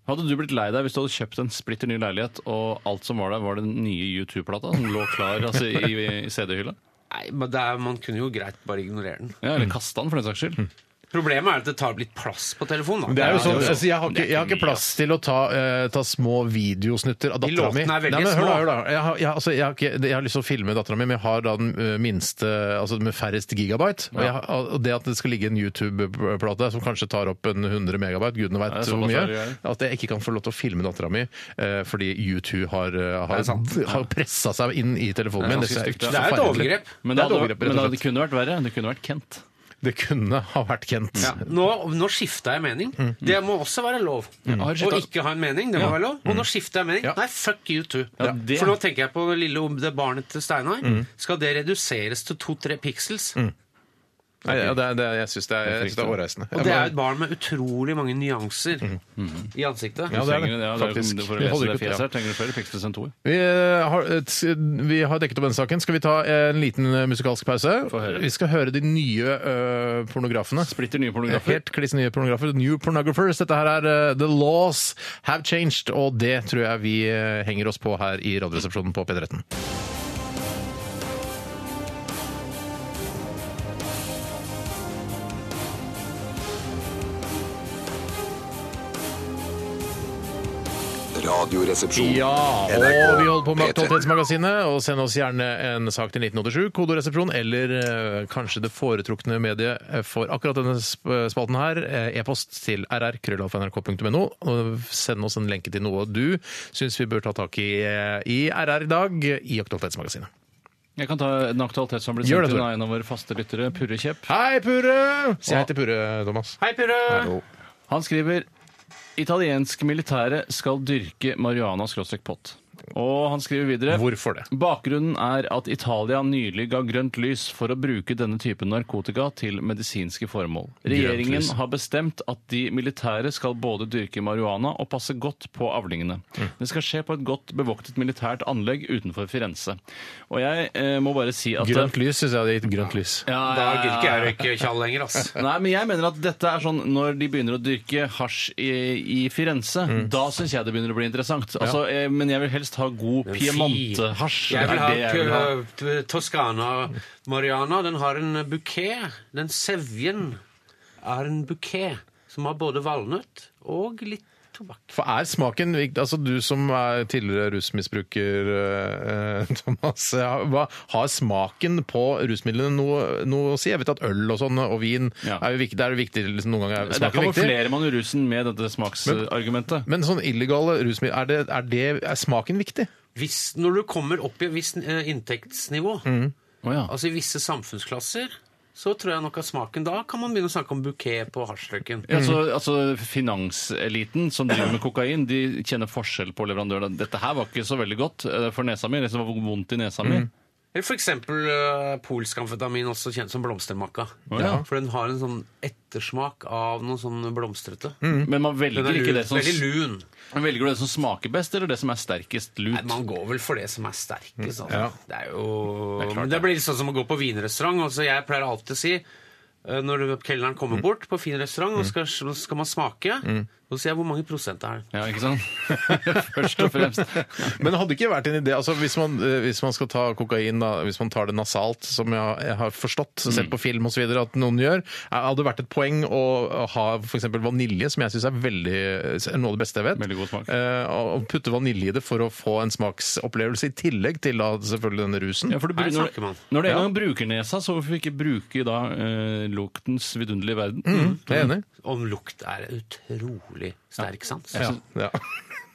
Hadde du blitt lei deg hvis du hadde kjøpt en splitter ny leilighet, og alt som var der, var den nye U2-plata som lå klar altså, i, i CD-hylla?
Nei, men det er, Man kunne jo greit bare ignorere den.
Ja, eller kasta den, for den saks
Mm.
skyld.
Problemet er at det tar litt plass på telefonen. Da.
Det er jo sånn,
jo.
altså, jeg, har
Det
ikke,
er
jeg har ikke
ikke mye,
plass til å ta, eh, ta små videosnutter av
De
dattera mi.
låtene er veldig
Nei, men hør da,
små.
hør da. Jeg, har, jeg, altså, jeg, har ikke, jeg har lyst til å filme dattera mi, men jeg har da den eh, minste altså med færrest gigabyte. Og, jeg, har- og det at det skal ligge en YouTube-plate som kanskje tar opp en 100 megabyte, gudene
Ja,
veit
det er
hvor
såpass
mye,
er det,
at jeg ikke kan få lov til å filme dattera mi eh, fordi U2 har, eh,
er
har,
sant.
har pressa seg inn i telefonen min.
Det er
Det er,
ganske stygt, ja.
Det er et
forferdelig.
overgrep.
Men det,
Det er et
hadde,
overgrep, rett og
men det
slett.
kunne vært verre. Det kunne vært Kent.
Det kunne ha vært Kent.
Ja. Nå, nå skifta jeg mening. Det må også være lov. Å
Mm. Har du skiftet- Mm.
ikke ha en mening, det må være lov. Og nå skifter jeg mening.
Ja.
Nei, fuck you too.
Ja, det- Mm.
For nå tenker jeg på det lille om det barnet til Steinar. Skal det reduseres til to-tre pixels?
Nei, ja, det, er- det, er- jeg syns det er, jeg synes det er årreisende.
Og det er jo et barn med utrolig mange nyanser i ansiktet.
Ja,
Du
det er det,
trenger- Mm. ja, det er-
faktisk.
For
Vi
å lese
holder
det
ikke-
fjeset her, trenger du flere pixels enn to.
Vi eh, har, eh, s- vi har dekket opp denne saken. Skal vi ta en liten eh, musikalsk pause?
Få høre.
Vi skal høre de nye eh, pornografene.
Splitter nye pornografer.
Helt kliss nye pornografer. New pornographers. Dette her er eh, The Laws Have Changed, og det tror jeg vi eh, henger oss på her i Radioresepsjonen på P13.
Radioresepsjon.
Ja, og
NRK
vi holder på
P13.
med Aktualitetsmagasinet, og send oss gjerne en sak til 1987, kodoresepsjon, eller eh, kanskje det foretrukne mediet eh, for akkurat denne sp- spalten her, eh, e-post til rrkrøllalfa.nrk.no, og send oss en lenke til noe du syns vi bør ta tak i eh, i RR i dag, i Aktualitetsmagasinet.
Jeg kan ta en aktualitet som har blitt
Gjør det,
sendt inn
Tore.
av en av våre faste lyttere, Purre Kjepp.
Hei, Purre! Si hei til Purre, Thomas.
Hei, Pyrre!
Han skriver italiensk militære skal dyrke marihuana-pott. Og han skriver videre
Hvorfor det?
Bakgrunnen er at Italia nylig ga grønt lys for å bruke denne typen narkotika til medisinske formål. Regjeringen
lys.
har bestemt at de militære skal både dyrke marihuana og passe godt på avlingene. Det skal skje på et godt bevoktet militært anlegg utenfor Firenze. Og jeg eh, må bare si at
Grønt lys syns jeg hadde gitt grønt lys.
Ja, ja,
Da
ja,
gidder
ja.
ikke jeg røyke tjall lenger, ass.
Nei, men jeg mener at dette er sånn når de begynner å dyrke hasj i, i Firenze, da syns jeg det begynner å bli interessant. Altså, eh, men jeg vil helst ha god
Men fy.
piemontehasj.
Jeg vil
Det er
ha,
det jeg vil ha.
t- Toscana Mariana. Den har en bukett. Den sevjen er en bukett som har både valnøtt og litt tobakk.
For er smaken vikt- Altså, du som er tidligere rusmisbruker, eh, eh, Thomas. ja, Hva, har smaken på rusmidlene noe, noe å si? Jeg vet at øl og sånn, og vin,
Ja.
er jo viktig, det er jo viktig liksom, noen ganger. Er
Da
smaken viktig.
kamuflerer man jo rusen med dette smaksargumentet.
Men sånn illegale rusmidler, er, det, er, det, er smaken viktig?
Hvis, når du kommer opp i et visst eh, inntektsnivå,
Å ja.
altså i visse samfunnsklasser, så tror jeg nok at smaken da kan man begynne å snakke om bukett på hasjrøyken.
Altså, altså Finanseliten som driver med kokain, de kjenner forskjell på leverandørene. Dette her var ikke så veldig godt eh, for nesa mi. Liksom det var vondt i nesa mi.
Eller for eksempel eh, polsk amfetamin, også kjent som blomstermakka.
ja.
For den har en sånn ettersmak av noe sånn blomstrete.
Men man
Den
velger
er
ikke
lun,
det som,
veldig lun.
man velger du det som smaker best, eller det som er sterkest lut.
Nei, man går vel for det som er sterkest. Altså.
Ja.
Det er jo
klart,
Men det blir litt sånn som å gå på vinrestaurant. Altså, jeg pleier alltid å si eh, når kelneren kommer bort på fin restaurant, og skal, skal man smake, så sier jeg hvor mange prosent det er.
Ja, ikke sant? Først og fremst.
Men hadde ikke vært en idé altså hvis man, eh, hvis man skal ta kokain, da, hvis man tar det nasalt, som jeg, har- jeg har forstått,
Mm.
sett på film osv. at noen gjør, eh, hadde det vært et poeng å å ha f.eks. vanilje, som jeg syns er veldig, eh, noe av det beste jeg vet.
Veldig god smak.
Eh, og og putte vanilje i det for å få en smaksopplevelse, i tillegg til da, selvfølgelig denne rusen.
Ja, for du,
Her
bru- når,
snakker man.
når det en gang bruker nesa, så hvorfor ikke bruke da eh, luktens vidunderlige
Mm.
verden?
Jeg er enig.
Om lukt er en utrolig sterk sans.
Ja. Ja.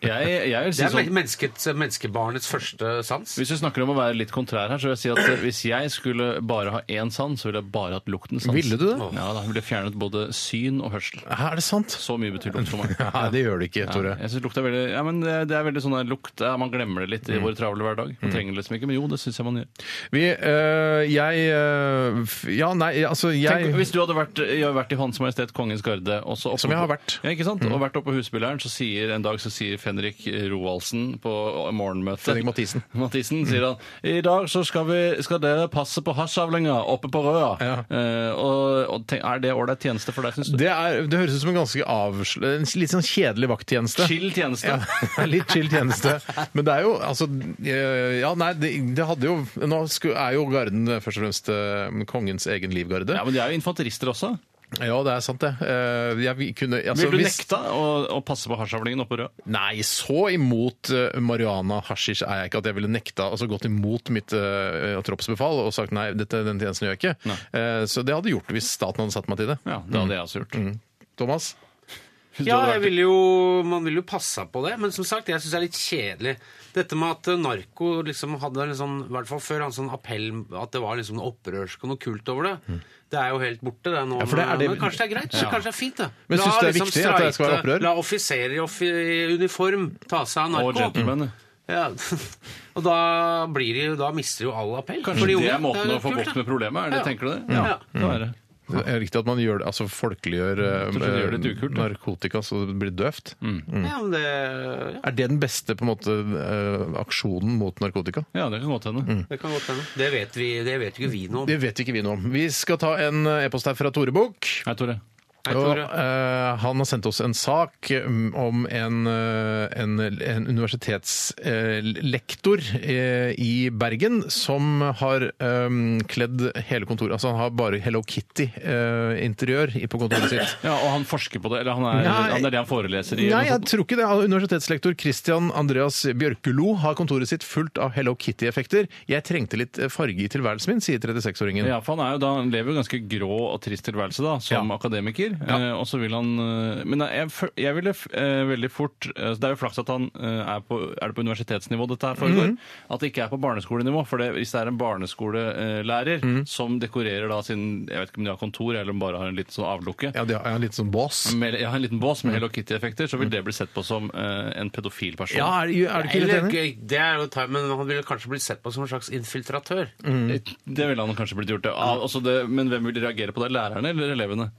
Jeg, jeg vil
Det
si
er
sånn,
menneskets, menneskebarnets første sans.
hvis vi snakker om å være litt kontrær her, så vil jeg si at eh, hvis jeg skulle bare ha én sans, så ville jeg bare hatt luktens sans.
Ville du det?
Ja, da ville jeg fjernet både syn og hørsel.
Er det sant?
Så mye betyr lukt for meg.
Nei, det gjør det ikke, Tore.
Ja, jeg synes lukt er veldig, ja, men det, det er veldig sånn der lukt ja, Man glemmer det litt
Mm.
i vår travle hverdag. Man trenger det liksom ikke, men jo, det syns jeg man gjør.
Vi øh, Jeg øh, f- Ja, nei, altså jeg
Tenk, hvis du hadde vært, jeg har vært i Hans Majestet Kongens Garde og så oppe-
Som jeg har vært. Mm.
Ja, ikke sant? Og vært oppe på Husbyleiren, så sier en dag så sier Fenrik Roaldsen på morgenmøtet
Fredrik Mathisen.
Mathisen sier han I dag så skal, vi, skal dere passe på hasjavlinga oppe på Røa.
Ja.
Eh, og, og tenk, er det ålreit tjeneste for deg, syns du?
Det, er, det høres ut som en ganske avsl... En litt sånn kjedelig vakttjeneste.
Chill tjeneste.
Ja, litt chill tjeneste. Men det er jo altså eh, Ja, nei, det, det hadde jo Nå sku- er jo garden eh, først og fremst eh, kongens egen livgarde.
Ja, Men de er jo infanterister også.
Ja, det er sant, det. Eh, Jeg kunne altså,
Vil du
hvis-
nekta å, å passe på hasjavlingen oppe på Røa?
Nei, så imot eh, marihuana hashish er jeg ikke at jeg ville nekta, altså gått imot mitt eh, troppsbefal og sagt nei, dette, den tjenesten gjør jeg ikke. Eh, så det hadde jeg gjort hvis staten hadde satt meg til det.
Ja, det hadde jeg også
Mm.
gjort.
Thomas?
Ja, jeg vil jo, man vil jo passe på det, men som sagt, jeg syns det er litt kjedelig. Dette med at eh, narko liksom hadde en sånn, i hvert fall før, en sånn appell at det var liksom noe opprørsk og noe kult over det. Det er jo helt borte, det nå.
Mm. for det er
men-
det-
Men kanskje det er greit? Kanskje det er fint, det.
Men
La
syns du det er
liksom
viktig at det skal være
streite-
opprør?
La offiserer i offi- i uniform ta seg av
Og
narko.
gentleman.
Ja. Og da, blir de, jo- da mister jo all appell.
Kanskje
for de unge.
Mm. det er måten
jo
å få
kult,
bukt
det.
med problemet? Er det,
Ja.
Tenker du det?
Ja.
det er det.
Det er riktig at man gjør det, altså
Mm.
folkeliggjør eh,
Kanskje det gjør det litt ukult, da.
narkotika så det blir døvt.
Ja, men det,
Er det den beste på en måte eh, aksjonen mot narkotika?
Ja, det kan godt hende.
Mm.
ja, det kan godt hende. Det vet vi det vet jo ikke vi noe om.
Det vet ikke vi noe om. Vi skal ta en eh, e-post her fra Tore Bukk.
Hei, Tore.
Hei,
Og,
Tore.
eh, han har sendt oss en sak eh, om en, eh, en, en universitetslektor eh, i Bergen som har eh, kledd hele kontoret Altså han har bare Hello Kitty-interiør på kontoret sitt.
Ja, og han forsker på det? Eller han er,
Nei.
han er det han foreleser i?
Nei,
eller
jeg
noe sånt?
tror ikke det. Universitetslektor Christian Andreas Bjørkelo har kontoret sitt fullt av Hello Kitty-effekter. Jeg trengte litt farge i tilværelsen min, sier 36-åringen.
ja, for han, er jo da, han lever jo ganske grå og trist tilværelse da, som
Ja.
akademiker. Eh, og så vil han eh, Men jeg, f- jeg ville f- eh, veldig fort eh, Det er jo flaks at han eh, er på, er det på universitetsnivå dette her foregår.
Mhm.
At det ikke er på barneskolenivå. For det, hvis det er en barneskolelærer
Mhm.
som dekorerer da sin Jeg vet ikke om de har kontor, eller om de bare har en liten sånn avlukke.
Ja, Mhm. det er en litt sånn bås.
Med, jeg har en liten bås med Hello Kitty-effekter, så vil det bli sett på som eh, en pedofil person.
Ja, er, er du ikke
Eller
litt enig?
ikke- det er jo ta- men han ville kanskje blitt sett på som en slags infiltratør.
Mm.
Det ville han kanskje blitt gjort. Ja, altså det, men hvem vil reagere på det? Lærerne eller elevene?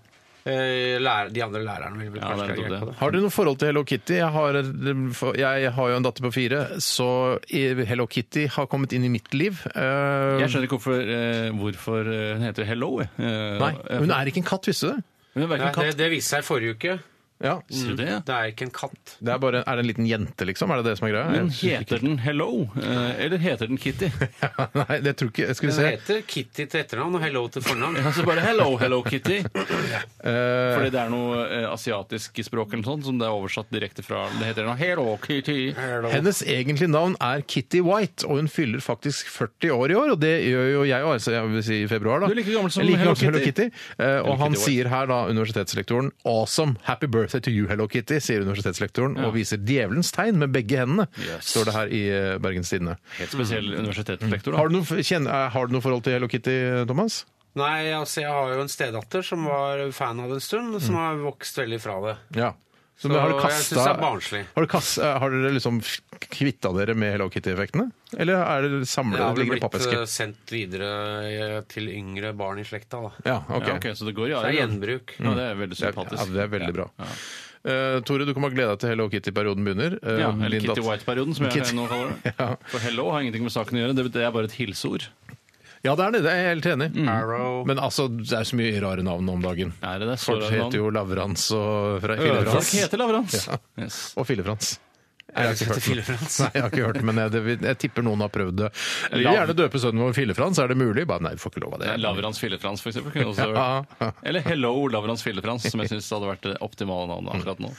Eh, lærer, de andre lærerne ville vel
Ja,
kanskje
det er
reagert
nettopp
på det.
Har du noe forhold til Hello Kitty? Jeg har, jeg har jo en datter på fire, så Hello Kitty har kommet inn i mitt liv. Eh,
Jeg skjønner ikke hvorfor, eh, hvorfor eh, hun heter Hello. jeg. Eh,
Nei,
eh,
hun er ikke en katt, visste du det?
hun er
Nei,
verken
det,
katt
det viste seg i forrige uke.
Ja.
Sier du det? ja?
Det er ikke en katt.
Det er, bare, er det en liten jente, liksom? Er det det som er greia?
Men
Jeg synes
heter den Hello, eh, eller heter den Kitty?
ikke- Nei, det tror ikke Skal
Den
vi se.
heter Kitty til etternavn og Hello til fornavn.
Altså bare Hello, Hello Kitty.
Eh,
Fordi det er noe eh, asiatisk i språket eller noe sånt, som det er oversatt direkte fra Det heter noe Hello Kitty.
Hennes egentlige navn er Kitty White, og hun fyller faktisk 40 år i år. Og det gjør jo jeg òg, jeg vil si i februar. da.
Du er like gammel som
Jeg er like
Hello
gammel som Hello
Kitty.
Kitty. Eh, og han
Kitty White.
sier her, da, universitetslektoren, 'Awesome! Happy birthday to you, Hello Kitty', sier universitetslektoren, og viser djevelens tegn med begge hendene,
Yes.
står det her i eh, Bergens Tidende.
Helt spesiell universitetslektor.
Mm. Har
da.
du, noe, kjenn- eh, har du noe forhold til Hello Kitty, Thomas?
Nei, altså jeg har jo en stedatter som var fan av det en stund, som
Mm.
har vokst veldig fra det.
Ja. Så,
Så
har du
jeg
kastet-
synes det er barnslig.
Har, du kast, eh, har dere liksom kvitta dere med Hello Kitty-effektene? Eller er det
Det
samlet?
har
Det
vel
ligger i
blitt eh,
pappesker?
sendt videre eh, til yngre barn i slekta, da.
Ja, ok.
Ja, ok, så det går i
Det er
arv.
gjenbruk.
Mm.
Ja, det er veldig sympatisk.
Ja, det er veldig bra. Eh, Tore, du kommer til å glede deg til Hello Kitty-perioden begynner. Eh,
Ja, eller
din
Kitty
datter-
White-perioden, som jeg
Kitty-
nå kaller det.
Ja.
For hello har ingenting med saken å gjøre, det- det er bare et hilseord.
Ja, det er det. Det er jeg helt enig i.
Arrow.
Men altså, det er så mye rare navn om dagen.
Er det det? Så
Folk
rare navn.
heter jo Lavrans og fra
Ølfrakk
Fillefrans.
heter Lavrans. Yes.
Og Fillefrans.
Er det
Jeg har ikke hørt
Fille
det.
Frans?
Nei, jeg har ikke hørt det, men jeg, det, jeg tipper noen har prøvd det. Vi vil gjerne døpe sønnen vår Fillefrans, er det mulig? Bare, nei, vi får ikke lov av
Ja,
det.
Lavrans Fillefrans, for eksempel. Kunne også
Ja.
vært. Eller Hello Lavrans Fillefrans, som jeg syns hadde vært det optimale navnet akkurat nå.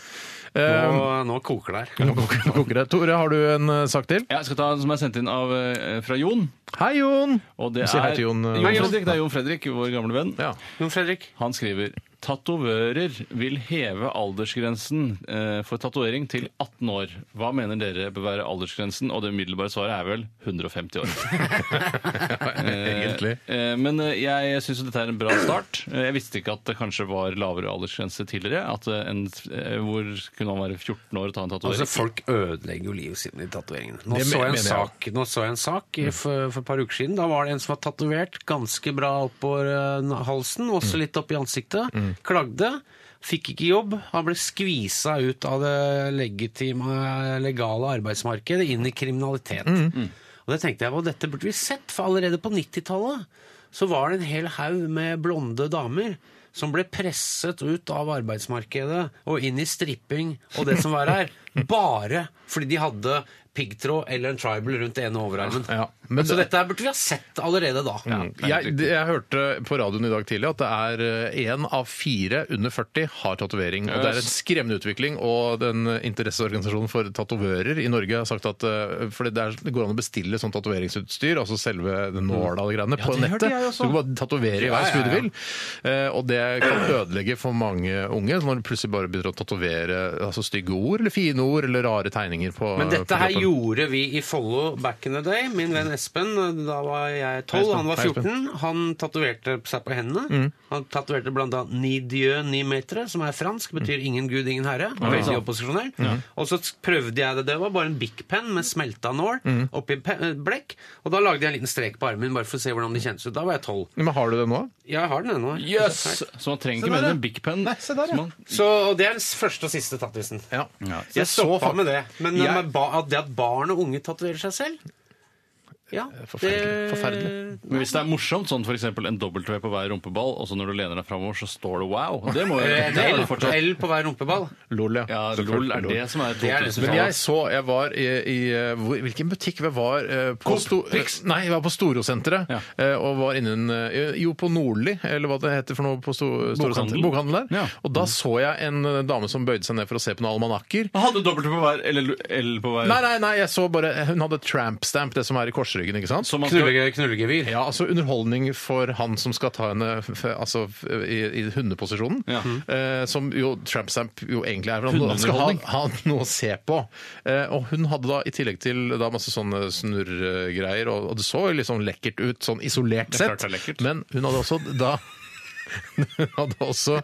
Eh,
Nå, nå koker det her.
nå koker- nå koker det. Tore, har du en eh, sak til?
Jeg skal ta en som er sendt inn av, eh, fra Jon.
Hei, Jon!
Og det
Si hei
er
til Jon, eh,
Jon Fredrik, det er Jon Fredrik, vår gamle venn.
Ja.
Jon Fredrik.
Han skriver Tatovører vil heve aldersgrensen eh, for tatovering til 18 år. Hva mener dere bør være aldersgrensen? Og det umiddelbare svaret er vel 150 år.
Egentlig.
Eh, Men eh, jeg syns dette er en bra start. Eh, Jeg visste ikke at det kanskje var lavere aldersgrense tidligere. At eh, en, eh, hvor kunne man være 14 år og ta en tatovering?
Altså, folk ødelegger jo livet sitt med de tatoveringene. Nå,
Det
så jeg en
mener jeg. Mm.
sak- nå så jeg en sak i- for, for et par uker siden. Da var det en som var tatovert ganske bra oppover eh, halsen,
Mm.
også litt opp i ansiktet. Klagde. Fikk ikke jobb. Han ble skvisa ut av det legitime, legale arbeidsmarkedet inn i kriminalitet.
Mm.
Og det tenkte jeg, og dette burde vi sett, for allerede på 90-tallet så var det en hel haug med blonde damer som ble presset ut av arbeidsmarkedet og inn i stripping og det som var her, bare fordi de hadde piggtråd eller en tribal rundt det ene overarmen.
Ja, men
så
det-
dette her burde vi ha sett allerede da.
Mm,
Jeg, det- jeg hørte på radioen i dag tidlig at det er én av fire under 40 har tatovering. Og det er en skremmende utvikling, og den interesseorganisasjonen for tatovører i Norge har sagt at eh, fordi det, er, det går an å bestille sånn tatoveringsutstyr, altså selve den nåla og de greiene, på
Mm. det hørte
nettet.
jeg også.
Så du kan bare tatovere i hver skue du vil. Eh, Og det kan ødelegge for mange unge når du plutselig bare begynner å tatovere altså stygge ord eller fine ord eller rare tegninger på
Men
på
dette her
kroppen.
gjorde vi i Follo back in the day. Min venn Espen, da var jeg 12,
Hei, Espen.
han var
Hei, Espen. Mm.
14. Han tatoverte seg på hendene. Han tatoverte blant annet ni dieu ni metre, som er
Mm.
fransk, betyr ingen gud, ingen herre. Veldig opposisjonell. Og så prøvde jeg det, det var bare en big pen med smelta nål
Mm.
oppi pe- eh, blekk. Og da lagde jeg en liten strek på armen, bare for å se hvordan det kjentes ut. Da var jeg 12.
Men har du det nå?
Jeg har den ennå.
Yes! Så man trenger
Se
ikke mer
der,
enn en big pen.
Nei, se der,
Så
ja.
man-
Så og det er den første og siste tattisen.
Ja.
Så jeg stoppa med det. Men
Jeg-
med ba at det at barn og unge tatoverer seg selv ja,
Eh, forferdelig.
det-
Forferdelig.
Men hvis det er morsomt, sånn f.eks. en dobbeltve på hver rumpeball, og så når du lener deg framover, så står det wow. Det må jo
Eh,
det er
L,
det fortsatt.
L på hver rumpeball.
Lol, ja.
Ja,
Selvfølgelig,
LOL er det som er liksom.
Det er det som
Men
Ja.
2000-tallet.
jeg så Jeg var i, i eh, hvor, Hvilken butikk jeg var eh, på? Sto-
Prix?
Nei, jeg var på Storosenteret.
Ja.
eh, Og var innen eh, Jo, på Nordli, eller hva det heter for noe på Sto- Storosenteret.
Bokhandel.
Bokhandel der.
Ja.
Og da så jeg en eh, dame som bøyde seg ned for å se på noen almanakker.
Hadde dobbelt på hver, eller L på hver
Nei, nei, nei, jeg så bare Hun hadde tramp stamp, det som er i korsryggen, ikke sant?
Så man skal,
Knullegevir. knullegevir.
Ja, altså underholdning for han som skal ta henne f altså, f- i, i hundeposisjonen.
Ja.
Eh, som jo Tramp Stamp jo egentlig er. for Han skal ha,
Hundeunderholdning.
ha noe å se på. Eh, og hun hadde da i tillegg til da masse sånne snurregreier, og, og det så jo litt sånn lekkert ut sånn isolert
Det er klart
sett,
det er lekkert.
men hun hadde også da hun hadde også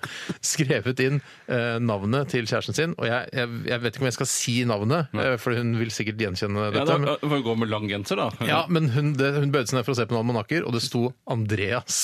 skrevet inn eh, navnet til kjæresten sin. Og jeg, jeg, jeg vet ikke om jeg skal si navnet, eh, for hun vil sikkert gjenkjenne
ja,
dette.
da,
men-
får vi gå med lang genser, da.
ja, men hun, det, hun bøyde seg ned for å se på noen almanakker, og det sto Andreas.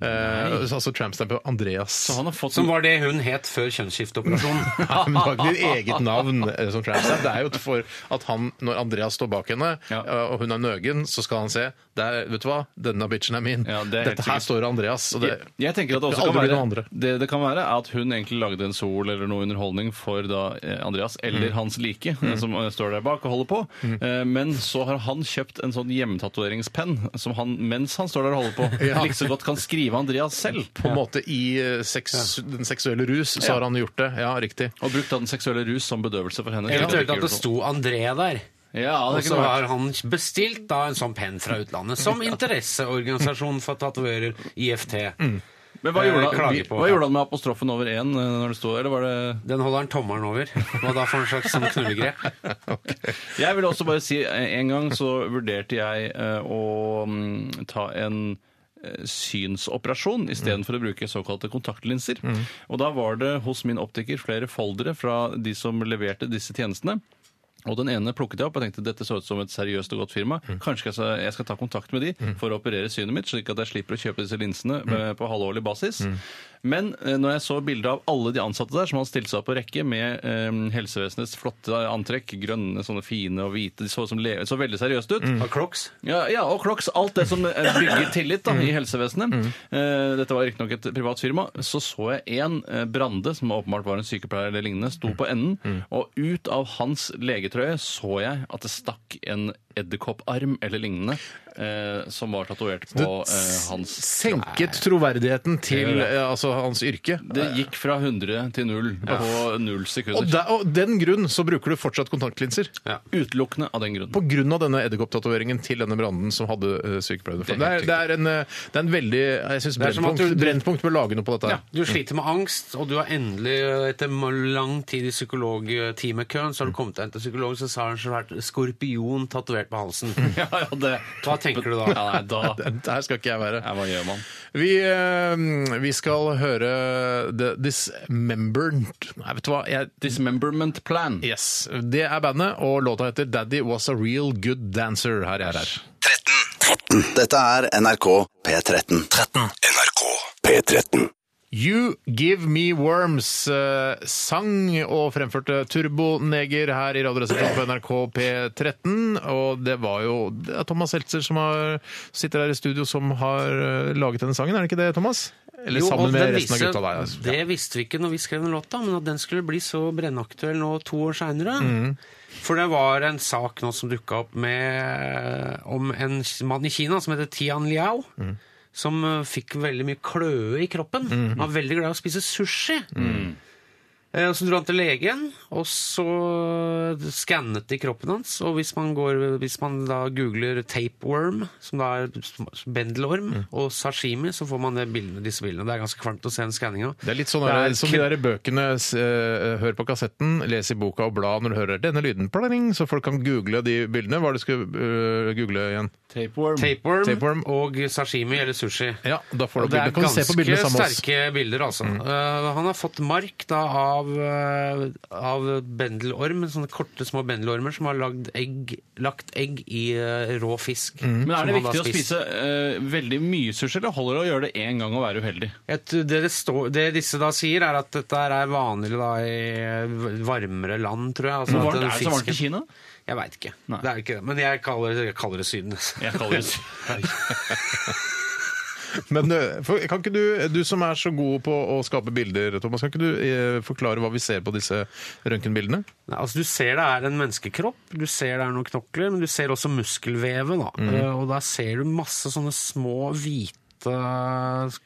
Eh, altså trampstampet Andreas.
Så han har fått
Som var det hun het før kjønnsskifteoperasjonen.
Nei, men det var ikke ditt eget navn eh, som trampstamp. Det er jo for at han, når Andreas står bak henne,
Ja.
eh, og hun er nøgen, så skal han se det er, Vet du hva, denne bitchen er min.
Ja, det er helt
Dette her
sikkert.
står Andreas. Og det,
jeg, jeg tenker at det også
Det
kan
aldri blir noen
være
andre.
det, det kan være at hun egentlig lagde en sol eller noe underholdning for da eh, Andreas
Mm.
eller hans like, eh, som eh, står der bak og holder på. Eh, Men så har han kjøpt en sånn hjemmetatoveringspenn som han, mens han står der og holder på,
Ja.
like så godt kan skrive Andreas selv.
på en måte i eh, seks, den seksuelle rus, så
Ja.
har han gjort det. Ja, riktig.
Og brukt den seksuelle rus som bedøvelse for henne.
Eventuelt at det sto André der.
Ja,
Og
det
så
kunne vært.
har han bestilt da en sånn penn fra utlandet. Som interesseorganisasjon for tatoverer, IFT.
Mm. Men hva gjorde,
Eh,
han,
klager på-
hva gjorde han med apostrofen over én eh, når det sto Eller var det
Den holder han tommelen over. Hva da for en slags sånn knullegrep?
Jeg vil også bare si eh, en gang så vurderte jeg eh, å mm, ta en eh, synsoperasjon istedenfor å bruke såkalte kontaktlinser. Og da var det hos min optiker flere foldere fra de som leverte disse tjenestene. Og den ene plukket jeg opp og tenkte dette så ut som et seriøst og godt firma. Kanskje jeg skal, jeg skal ta kontakt med de for å operere synet mitt, slik at jeg slipper å kjøpe disse linsene eh, på halvårlig basis. Men eh, når jeg så bildet av alle de ansatte der som hadde stilt seg opp på rekke med eh, helsevesenets flotte antrekk, grønne, sånne fine og hvite, de så, ut som le så veldig seriøst ut.
Av Crocs?
Ja, ja, og Crocs. Alt det som eh, bygger tillit
Mm.
da, i helsevesenet. Eh, dette var riktignok et privat firma. Så så jeg en eh, Brande, som åpenbart var en sykepleier
Mm.
eller lignende, sto på enden. Og ut av hans legetrøye så jeg at det stakk en edderkopparm eller lignende, eh, som var tatovert på eh, hans
Senket troverdigheten til eh, altså, hans yrke.
Det gikk fra 100 til 0 på null
Og,
sekunder.
der, og den grunn så bruker du fortsatt kontaktlinser.
Utelukkende av den grunn.
På grunn av denne edderkopptatoveringen til denne branden som hadde uh, sykepleieruniform.
Det
Det,
er helt
er- det, er en, eh, det er en veldig jeg synes
Det er som at
Brennpunkt,
du-
brennpunkt bør lage noe på dette. her.
Du sliter med angst, og du har endelig, etter lang tid i psykologtimekøen,
Mm.
så har du kommet deg inn til psykolog, så har han svært skorpion tatovert på halsen.
Ja, ja, det.
Hva tenker du da?
Ja, nei, da ja,
Det her skal ikke jeg være.
Hva gjør man?
Vi, eh, vi skal høre The Dismembered Nei, vet du hva? Jeg,
Dismemberment plan.
yes. Det er bandet, og låta heter Daddy Was A Real Good Dancer. Her er jeg her.
Dette er NRK P13. 13. NRK P13.
You Give Me Worms eh, sang og fremførte Turboneger her i Radioresepsjonen på NRK P13. Og det var jo det er Thomas Seltzer som har, sitter her i studio som har eh, laget denne sangen, er det ikke det, Thomas? Eller
Jo, og
sammen med
det
resten av
viser-
gutta der. altså.
Det visste vi ikke når vi skrev den låta, men at den skulle bli så brennaktuell nå to år seinere.
Mm.
For det var en sak nå som dukka opp med, om en mann i Kina som heter Tian Liao.
Mm.
Som eh, fikk veldig mye kløe i kroppen.
Mhm.
Han var veldig glad i å spise sushi. Eh, og Så dro han til legen, og så eh, skannet de kroppen hans. Og hvis man, går, hvis man da googler tapeworm, som da er sm- bendelorm,
Mhm.
og sashimi, så får man det bildene, disse bildene. Det er ganske kvalmt å se den skanninga.
Det er litt sånn
Det er
der, som de
kun-
der bøkene s- eh, Hør på kassetten, les i boka og bla når du hører denne lyden, pling, så folk kan google de bildene. Hva er det du skulle eh, google igjen?
Tapeworm.
Tapeworm,
Tapeworm.
og sashimi eller sushi.
Ja, da får
Og
du
det er
bildet. Kan du se på bildene
ganske
sammen med oss? Mm.
sterke bilder, altså. Eh, han har fått mark da av, eh, av bendelorm, sånne korte små bendelormer som har lagd egg, lagt egg i eh, rå fisk.
Mm.
som
Men er det
han da
viktig å
spiser.
spise eh, veldig mye sushi, eller holder det å gjøre det én gang og være uheldig?
Sånn
Jeg tror det, det, står, det disse da sier, er at dette her er vanlig da i varmere land, tror jeg. Altså,
Men
at
var det,
den
er det så varmt i
fisken-
Kina?
Jeg veit ikke.
Nei.
Det er ikke det. Men jeg kaller, jeg kaller det Syden.
Jeg kaller det
Men eh, for, kan ikke du, du som er så god på å skape bilder, Thomas, kan ikke du eh, forklare hva vi ser på disse røntgenbildene?
Nei, Altså, du ser det er en menneskekropp, du ser det er noen knokler, men du ser også muskelvevet. Da.
Mm.
Eh, Og der ser du masse sånne små hvite,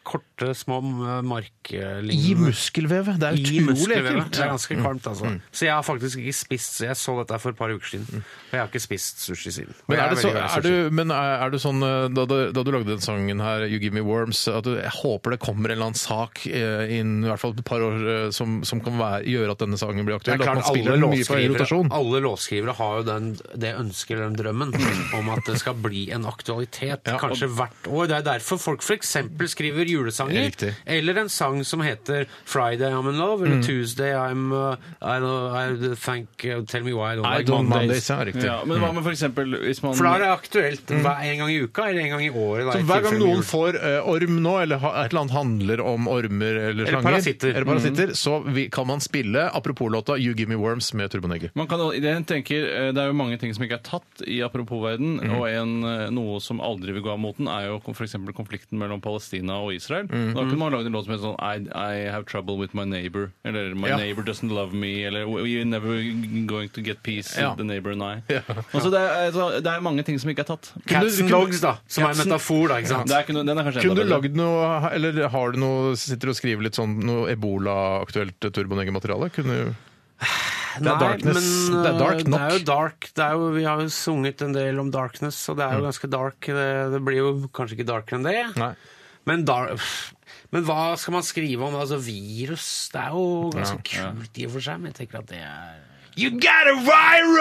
korte, små
I
marklinjer.
muskelvevet! Det er
I
utrolig
muskelvevet.
ekkelt! Mm.
Det er ganske kvalmt, altså. Så jeg har faktisk ikke spist Jeg så dette for et par uker siden, og jeg har ikke spist sushi siden. Og
Mm. Men,
jeg
er, det så,
veldig glad i
er,
sushi.
du, men er, er du sånn eh, da, du- da du lagde den sangen her, You Give Me Worms, at du jeg håper det kommer en eller annen sak eh, innen i hvert fall et par år eh, som, som kan være, gjøre at denne sangen blir
Det
aktuell?
er klart,
at man spiller
alle
den mye på høy
låtskrivere,
rotasjon?
alle låtskrivere har jo den, det ønsket eller den drømmen om at det skal bli en aktualitet,
Ja, og-
kanskje hvert år. Det er derfor folk f.eks. skriver julesanger,
Riktig. Mm.
eller en sang som heter 'Friday I'm in Love', eller 'Tuesday I'm uh, I, don't- I Thank uh, Tell Me Why I Don't
I
Like
don't
Mondays'.
Mondays, ja, riktig. Mm.
Ja, men hva med for eksempel hvis man
For da er det aktuelt hver en gang i uka, eller en gang i året. da,
Så
i
hver gang
tilfelle
noen
jul.
får eh, orm nå, eller ha, et eller annet handler om ormer eller slanger,
parasitter. Mm.
eller parasitter, så vi, kan man spille apropos låta You Give Me Worms med Turbonegger.
Man kan, jeg tenker, eh, Det er jo mange ting som ikke er tatt i apropos-verden,
Mm.
og en, eh, noe som aldri vil gå av moten, er jo for eksempel konflikten mellom Palestina og Israel.
Mm.
Da kunne man lagd en låt som het sånn I, I have trouble with my neighbor, eller My
Ja.
neighbor doesn't love me, eller We're never going to get peace,
Ja.
the neighbor and I. Altså, det, er, altså, det er mange ting som ikke er tatt.
Cats and Dogs, da, som er en
Cats and-
metafor, da, ikke sant?
Det er ikke noe- den er kanskje enda
Kunne du
bedre.
lagd noe, eller har du noe, sitter du og skriver litt sånn noe ebola-aktuelt Turbonegger-materiale? Kunne du Det er darkness.
Men,
Det er
øh,
dark nok.
Det er jo dark. Det er jo, vi har jo sunget en del om darkness, og det er jo ganske dark. Det, det blir jo kanskje ikke darkere enn det.
Mm. Nei.
Men, dar pff. men hva skal man skrive om? Altså virus? Det er jo ganske kult i og for seg, men jeg tenker at det er You got a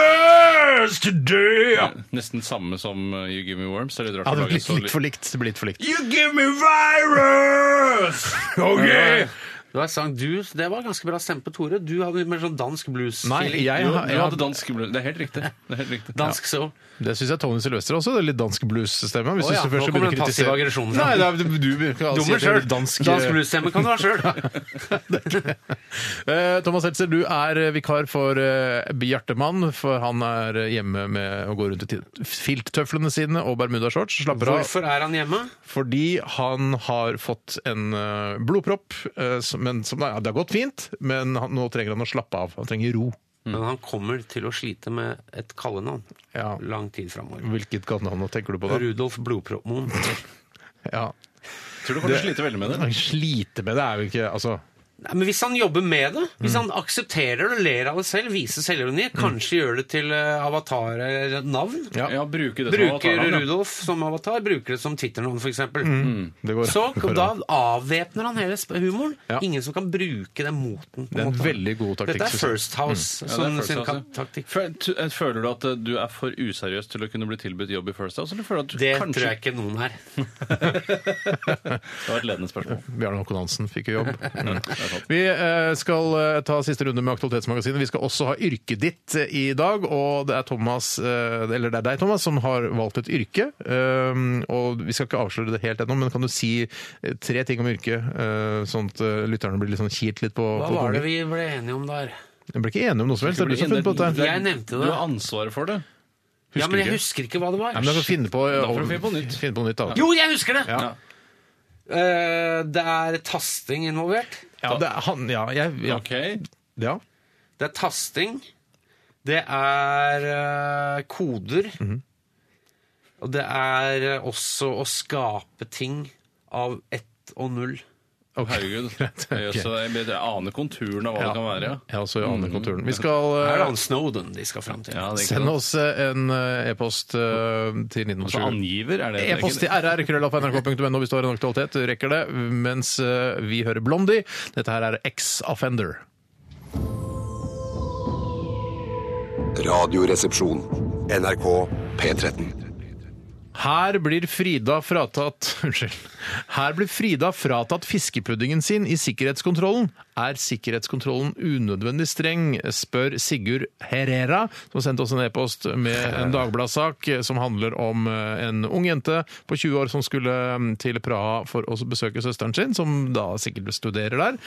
virus today!
Nesten samme som eh, You Give Me Worms. Eller
Ja, det blir litt, litt for likt. Det blir litt for likt.
You give me virus!
Eh,
Okay. Det var en sang du, det var ganske bra stemme på Tore. Du hadde mer sånn dansk blues-feeling.
jeg
jo,
har-
du hadde dansk Det er helt riktig. Det er helt riktig.
Dansk soul.
Det syns jeg Tony Sylvester også. Det er litt dansk blues-stemme. Hvis
Å ja,
du først
nå
skal begynne
kommer
å
den passive
kritisere-
aggresjonen
Nei,
fram.
det er, du, du kan si
Dummer
at det er
sjøl!
litt
Dansk,
Dansk,
dansk blues-stemme kan du ha sjøl!
Eh, Thomas Seltzer, du er vikar for eh, Bjartemann, for han er eh, hjemme med å gå rundt i ti- filttøflene sine og bermudashorts. Slapper av
Hvorfor er han hjemme?
fordi han har fått en eh, blodpropp. eh, som- Men som, ja, det har gått fint, men han, nå trenger han å slappe av. Han trenger ro.
Men han kommer til å slite med et kallenavn
Ja. Mm.
lang tid framover.
Hvilket kallenavn tenker du på da?
Rudolf Blodproppmoen.
Ja.
Tror du kommer til å slite veldig med det?
Han sliter med det er jo ikke altså,
Nei, men hvis han jobber med det, hvis
Mm.
han aksepterer det og ler av det selv, viser selvironi, kanskje gjør det til eh, avatar eller et navn
Ja.
Ja, bruke det som
Bruker
avatarnavn, ja.
Rudolf som avatar, bruker det som titternavn, f.eks.
det går,
Så
går
da
an.
avvæpner han hele sp- humoren.
Ja.
Ingen som kan bruke den moten. på
Det er
en
en
måte.
veldig god taktikk.
Dette er
synes jeg. Mm.
First House
Ja, det er
som
First
sin
House, ja.
ka- taktikk.
Føl- t- Føler du at eh, du er for useriøs til å kunne bli tilbudt jobb i First House? Eller føler du at du
Det
kanskje
tror jeg ikke noen her.
Det var et ledende spørsmål.
Bjarne Håkon Hansen fikk jo jobb. Mm. Vi eh, skal eh, ta siste runde med Aktualitetsmagasinet. Vi skal også ha yrket ditt eh, i dag, og det er Thomas, eh, eller det er deg, Thomas, som har valgt et yrke. Um, og vi skal ikke avsløre det helt ennå, men kan du si eh, tre ting om yrket, eh, sånn at eh, lytterne blir litt sånn kilt litt på
Hva
på
var det
tungen?
vi ble enige om der?
Jeg ble ikke enig om noe som helst. Det
sånn
er du som har funnet på dette. her.
Jeg nevnte
Du
det.
har ansvaret for det.
Ja, men jeg
ikke.
husker ikke hva det
Nei,
var.
men da kan du finne på,
Da får du finne på nytt.
Finne på nytt da.
Jo, jeg husker det!
Ja.
Eh, det er tasting involvert.
Ja, det er han, ja, jeg, ja.
Ok.
ja.
Det er tasting. Det er eh, koder.
Mhm.
Og det er eh, også å skape ting av ett og null.
Herregud. Jeg, så jeg, jeg aner konturen av hva det kan være. ja.
Jeg også aner konturen. Vi skal eh,
Her er det han Snowden de skal fram til.
Ja, det er ikke
Send
sant.
oss eh, en eh, e-post eh, til
Altså
1907.
angiver, er det det?
E-post til rrkrøllalfa.nrk.no hvis du har en aktualitet. Du rekker det. Mens eh, vi hører Blondie. Dette her er X-Offender.
Radioresepsjon. NRK P13.
Her blir Frida fratatt Unnskyld. Her blir Frida fratatt fiskepuddingen sin i sikkerhetskontrollen. Er sikkerhetskontrollen unødvendig streng, spør Sigurd Herrera, som sendte oss en e-post med en Dagbladet-sak eh, som handler om eh, en ung jente på 20 år som skulle mm, til Praha for å besøke søsteren sin, som da sikkert studerer der.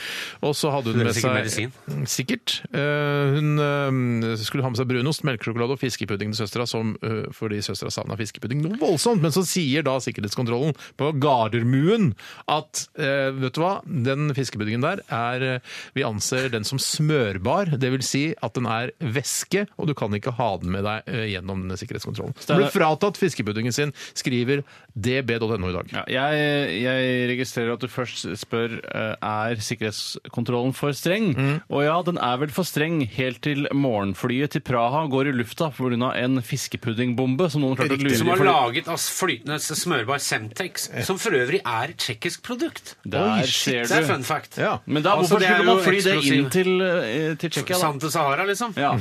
Og så hadde hun
Studerer
med seg
sikkert medisin.
Sikkert. Eh, Hun eh, skulle ha med seg brunost, melkesjokolade og fiskepudding til søstera, som, eh, fordi søstera savna fiskepudding noe voldsomt. Men så sier da sikkerhetskontrollen på Gardermuen at eh, vet du hva, den fiskepuddingen der er eh, Vi anser den som smørbar, dvs. Si at den er væske, og du kan ikke ha den med deg eh, gjennom denne sikkerhetskontrollen. Den ble fratatt fiskepuddingen sin, skriver db.no i dag.
Ja, jeg, jeg registrerer at du først spør eh, er sikkerhetskontrollen for streng. Og ja, den er vel for streng helt til morgenflyet til Praha går i lufta pga. en fiskepuddingbombe som noen klarte å lure
Som
i
har
fly-
laget av flytende smørbar Semtex, som for øvrig er et tsjekkisk produkt.
Oi,
Der ser
shit,
Det er
du.
fun fact.
Ja.
Men da,
Altså,
hvorfor
det er
skulle man
jo
fly det inn
eksplosiv.
til, eh, til Tsjekkia? da?
Sand til Sahara, liksom.
Ja.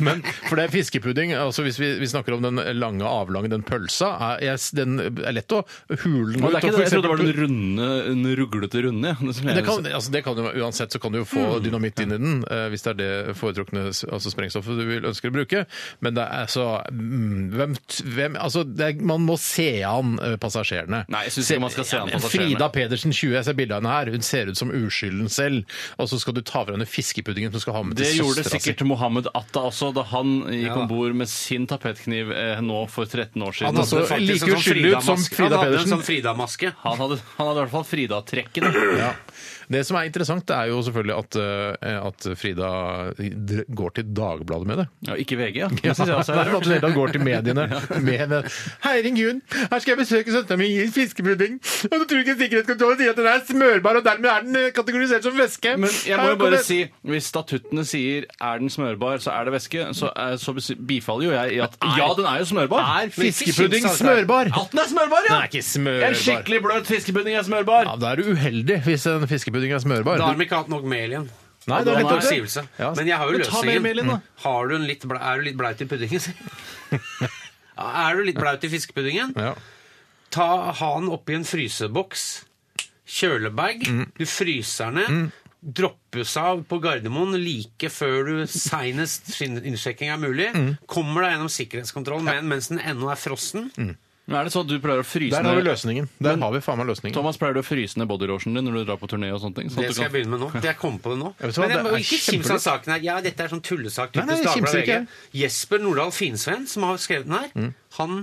Men for det er fiskepudding, altså hvis vi, vi snakker om den lange, avlange, den pølsa, er, jeg, den er lett å hule den
Men
ut.
det er ikke det.
og for
Jeg trodde det var
eksempel-
den runde, den ruglete runde. ja. Det som jeg-
det kan, altså det kan jo, uansett så kan du jo få
Mm.
dynamitt inn i den, eh, hvis det er det foretrukne s- altså sprengstoffet du vil ønsker å bruke. Men det er så mm, hvem, t- hvem, altså det er, Man må se an eh, passasjerene.
Nei, jeg synes ikke man skal se an
Ja, men
passasjerene.
Frida Pedersen, 20, jeg ser bildet av henne her. Hun ser ut som uskylden selv. Og så skal du ta fra henne fiskepuddingen som du skal ha med
Det
til
gjorde
søstera si.
sikkert Mohammed Atta også da han gikk
Ja da.
om bord med sin tapetkniv eh, nå for 13 år siden.
Han også-
Han
så like uskyldig ut som Frida
sånn Han hadde
Pedersen.
en sånn Frida-maske.
hadde, han hadde i hvert fall Frida-trekkene.
Ja. Det som er interessant, det er jo selvfølgelig at, eh, at Frida dr- går til Dagbladet med det.
Ja, ikke VG, ja. Det synes jeg også er
Nei, men at
rart.
hun hele tatt går til mediene med det. Herregud, her skal jeg besøke søstera mi i fiskepudding, og du tror ikke Sikkerhetskontrollen sier at den er smørbar, og dermed er den eh, kategorisert som væske.
Men jeg må jo
Her
bare
kommer-
si, hvis statuttene sier er den smørbar, så er det væske, så, er- så bifaller jo jeg i at ja, den er jo smørbar.
Er fiskepudding smørbar?
At den er smørbar, ja!
Den er ikke smørbar.
En skikkelig bløt fiskepudding er smørbar.
Ja, Da er du uheldig hvis en fiskepudding er smørbar.
Da har de ikke hatt nok mel igjen.
Nei, det er
Da
nettopp
må
det.
jeg si det.
Ja.
Men jeg har jo
Men ta mer mel inn, da.
løsningen. Har du en litt ble, er du litt blaut i puddingen? sier jeg. er du litt blaut i fiskepuddingen?
Ja.
Ta, ha den oppi en fryseboks. Kjølebag.
Mm.
Du fryser den ned. Droppes av på Gardermoen like før du seinest innsjekking er mulig.
Mm.
Kommer deg gjennom sikkerhetskontrollen med den mens den ennå er frossen.
Mm.
Men er det sånn at du pleier å fryse
Der har vi
ned
løsningen. Der har vi faen meg løsningen.
Thomas, pleier du å fryse ned bodylotionen din når du drar på turné og sånne ting? Sånn at
Det
du
skal jeg
kan-
begynne med nå. Jeg kom på det nå.
vet hva,
Men jeg
det
må
er
ikke kimse av
kjempelurt.
saken her. Ja, dette er sånn tullesak.
Nei, nei,
typisk
jeg kimser
Dagbladet VG.
ikke. Mm.
Jesper Nordahl Finsveen, som har skrevet den her, han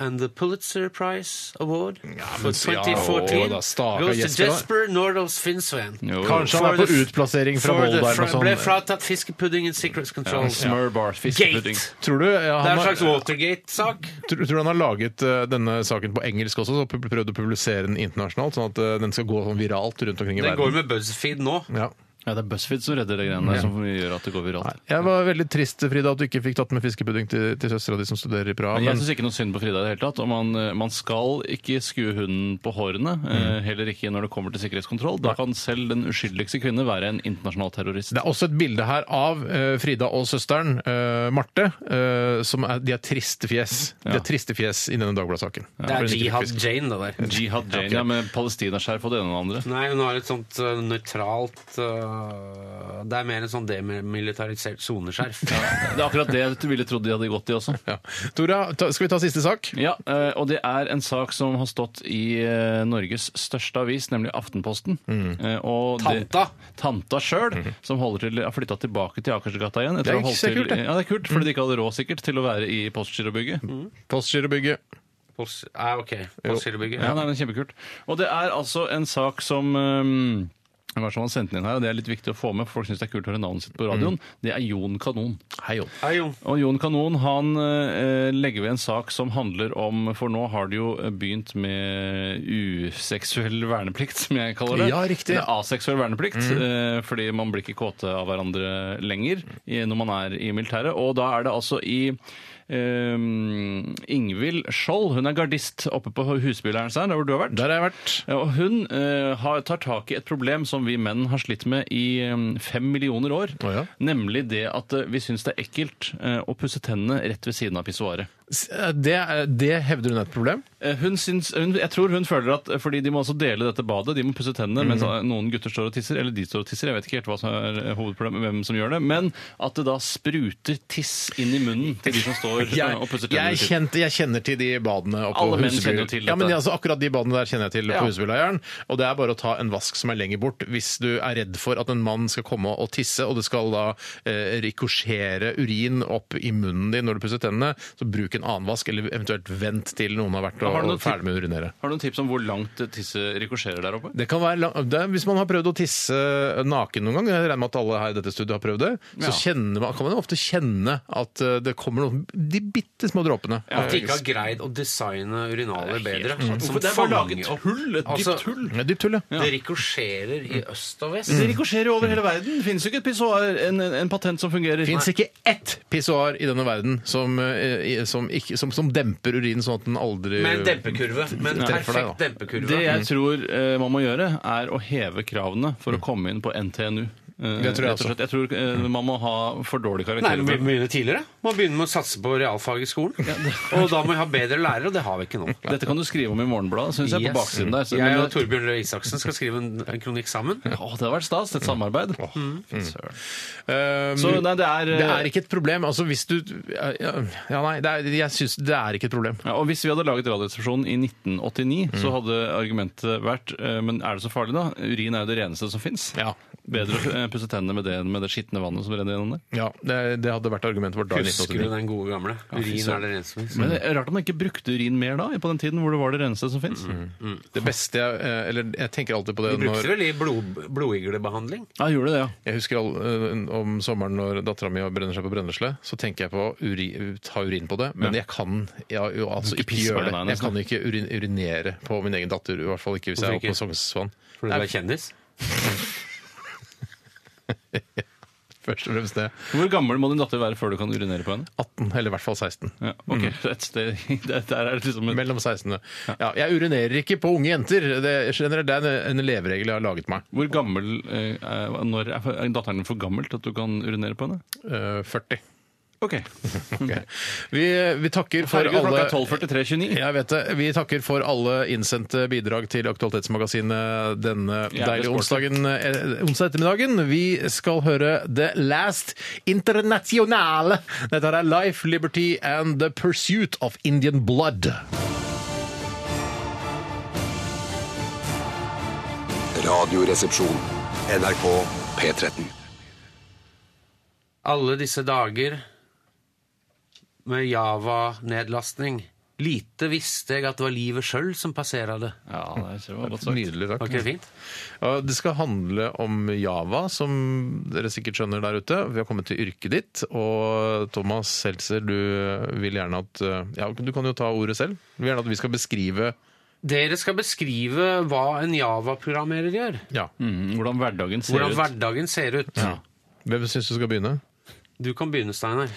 and the Pulitzer Prize Award for
men- ja, å,
2014
da, stakkars
goes to
Jesper, da.
Jesper Nordahl Svinsveen.
Jo.
Kanskje han er
For
på
the-
utplassering fra
for the-
Volda eller
fra- Ble
noe sånt.
fratatt fiskepudding and secret control.
Smørbar, fiskepudding.
Gate.
Tror du, ja,
Det er
han
en
har,
slags Watergate-sak.
tror, tror du han har laget eh, denne saken på engelsk også, så pu- prøvd å publisere den internasjonalt, sånn at eh, den skal gå sånn viralt rundt omkring i
Den går
verden?
med BuzzFeed nå.
Ja.
Ja, det er BuzzFeed som redder det greiene der, som gjør at det går viralt.
Jeg var veldig trist, Frida, at du ikke fikk tatt med fiskepudding til, til søstera di som studerer i Praha.
Men jeg
Men,
syns ikke noe synd på Frida i det hele tatt. Og man, eh, man skal ikke skue hunden på hårene. eh, Heller ikke når det kommer til sikkerhetskontroll. Da kan selv den uskyldigste kvinne være en internasjonal terrorist.
det er også et bilde her av eh, Frida og søsteren, eh, Marte, eh, som er, de er triste fjes. De er triste fjes i denne Dagbladet-saken.
Det er
Fordi de ikke fikk
Jihad
fisk.
Jane, det der.
Jihad Jane ja, med palestinaskjerf og det ene og det andre.
Nei, hun har et sånt eh, nøytralt eh, Det er mer en sånn demilitarisert soneskjerf.
Det er akkurat det jeg ville trodd de hadde gått i også.
Ja. Tora, ta, skal vi ta siste sak?
Ja, eh, og det er en sak som har stått i eh, Norges største avis, nemlig Aftenposten. Eh, og det-
Tanta.
Tanta Mm. sjøl, som holder til, har flytta tilbake til Akersgata igjen.
Det er
å ha holdt
ikke så
til-
kult, det.
Ja, det Mm. er kult, fordi de ikke hadde råd sikkert til å være i postgirobygget.
Postgirobygget.
Pols- eh, ok, Postgirobygget.
Ja, nei, det er kjempekult. Og det er altså en sak som um, hva er det som han sendte inn her, og Det er litt viktig å få med, for folk syns det er kult å høre navnet sitt på radioen. Det er Jon Kanon.
Hei, Jon.
Hei, Jon.
Og Jon Kanon han eh, legger ved en sak som handler om For nå har det jo eh, begynt med useksuell verneplikt, som jeg kaller det.
Ja, riktig. Mm.
Eller aseksuell verneplikt. eh, fordi man blir ikke kåte av hverandre lenger i, når man er i militæret. Og da er det altså i eh, Ingvild Skjold, hun er gardist oppe på Husbyleiren, der hvor du har vært.
Der har jeg vært.
Ja, Og hun eh, har, tar tak i et problem som vi menn har slitt med i eh, fem millioner år.
Å ja.
Nemlig det at eh, vi syns det er ekkelt eh, å pusse tennene rett ved siden av pissoaret.
S- eh, Det, det hevder hun er et problem.
Eh, Hun syns, hun, jeg tror hun føler at eh, Fordi de må også dele dette badet. De må pusse tennene mens
Mhm.
eh, noen gutter står og tisser. Eller de står og tisser. Jeg vet ikke helt hva som er eh, hovedproblemet, hvem som gjør det. Men at det da spruter tiss inn i munnen til de som står eh, og pusser tennene.
jeg, kjente, jeg kjenner til de badene oppe
Alle
på
menn
Huseby.
kjenner jo til
Ja, men
dette.
altså, akkurat de badene der kjenner jeg til
Ja.
på Husebyleiren. Og det er bare å ta en vask som er lenger bort hvis du er redd for at en mann skal komme og tisse, og det skal da eh, rikosjere urin opp i munnen din når du pusser tennene, så bruk en annen vask, eller eventuelt vent til noen har vært og,
Har du noen
og ferdig med å urinere.
Har du noen tips om hvor langt eh, tisset rikosjerer der oppe?
Det kan være, lang- det, er- hvis man har prøvd å tisse naken noen gang, jeg regner med at alle her i dette studiet har prøvd det, så
Ja.
kjenner man, kan man jo ofte kjenne at eh, det kommer noen, de bitte små dråpene.
At de ikke har greid å designe urinaler bedre. Som
Hvorfor det er bare laget
fanger opp
hull, et dypt
Altså,
hull.
Det er dypt tull, ja.
Det rikosjerer i øst og vest.
Det rikosjerer jo over hele verden. Det finnes jo ikke et pissoar, en, en, en patent som fungerer.
Det fins ikke ett pissoar i denne verden som, eh, i- som, ikke, som, som demper urinen sånn at den aldri
Med en dempekurve. Med en
Nei, for deg,
perfekt
da.
dempekurve.
Det jeg tror eh, man må gjøre, er å heve kravene for å komme inn på NTNU. Eh,
Det tror jeg
rett og slett. Jeg tror eh, man må ha for dårlige
Nei,
karakterer.
man må begynne tidligere. Man begynner med å satse på realfag i skolen. Og da må vi ha bedre lærere, og det har vi ikke nå.
Dette kan du skrive om i Morgenbladet, syns jeg,
Yes.
på baksiden der. Så,
Jeg
men-
og Torbjørn Røe Isaksen skal skrive en, en kronikk sammen.
Å, det har vært stas. Et samarbeid. Fy søren.
Eh,
Så nei, det er, eh,
det er ikke et problem. Altså, hvis du Ja, ja, nei, det er, jeg syns det er ikke et problem.
eh, ja, og Hvis vi hadde laget Radioresepsjonen i 1989,
Mm.
så hadde argumentet vært eh, Men er det så farlig, da? Urin er jo det reneste som fins.
Ja.
Bedre å eh, pusse tennene med det enn med det skitne vannet som renner gjennom der.
Ja, det, det hadde vært argumentet vårt da. i
Husker du
1989.
den gode gamle? Urin er det reneste. vi-
Men det er Rart at man ikke brukte urin mer da, på den tiden hvor det var det reneste som fins.
Det beste jeg eh, Eller jeg tenker alltid på det
Vi brukte
når
vel i blod, blodiglebehandling?
Ja, gjorde det, ja.
jeg husker all, eh, om sommeren når dattera mi brenner seg på brennesle, så tenker jeg på å uri, ta urin på det, men jeg kan ja, jo, altså
ikke
ikke
pisse på
gjøre
det, nei,
det. Jeg
nesten.
kan ikke urin, urinere på min egen datter, i hvert fall ikke hvis
Hvorfor
jeg er
ikke?
oppe på Sognsvann.
Fordi du er kjendis?
Først og fremst det.
Hvor gammel må din datter være før du kan urinere på henne?
18, eller i hvert fall 16.
Ja, ok, så et sted, der, der er det liksom et,
Mellom 16. Ja, jeg urinerer ikke på unge jenter. Det, generelt, det er en, en leveregel jeg har laget meg.
Hvor gammel eh, er, når er, er datteren din for gammel til at du kan urinere på henne?
Eh, 40.
Ok.
Ok. Vi, vi takker for
Herregud, klokka er
alle
12.43,29.
jeg vet det. Vi takker for alle innsendte bidrag til Aktualitetsmagasinet denne
Jævlig
deilige
sporty.
onsdagen, eh, onsdag ettermiddagen. Vi skal høre The Last Internationale. Dette er Life, Liberty and the Pursuit of Indian Blood.
Radioresepsjon. NRK P13.
Alle disse dager med Java-nedlastning Lite visste jeg at det var livet sjøl som passera det.
Ja, det tror jeg var godt sagt.
Nydelig
Var
sagt.
ikke det fint?
Ja, Det skal handle om Java, som dere sikkert skjønner der ute. Vi har kommet til yrket ditt. Og Thomas Seltzer, du vil gjerne at eh, Ja, du kan jo ta ordet selv. Du vil gjerne at vi skal beskrive
Dere skal beskrive hva en Java-programmerer gjør.
Ja.
Mm, hvordan hverdagen ser
Hvordan
ut.
hverdagen ser ut.
Hvem syns du skal begynne?
Du kan begynne, Steinar.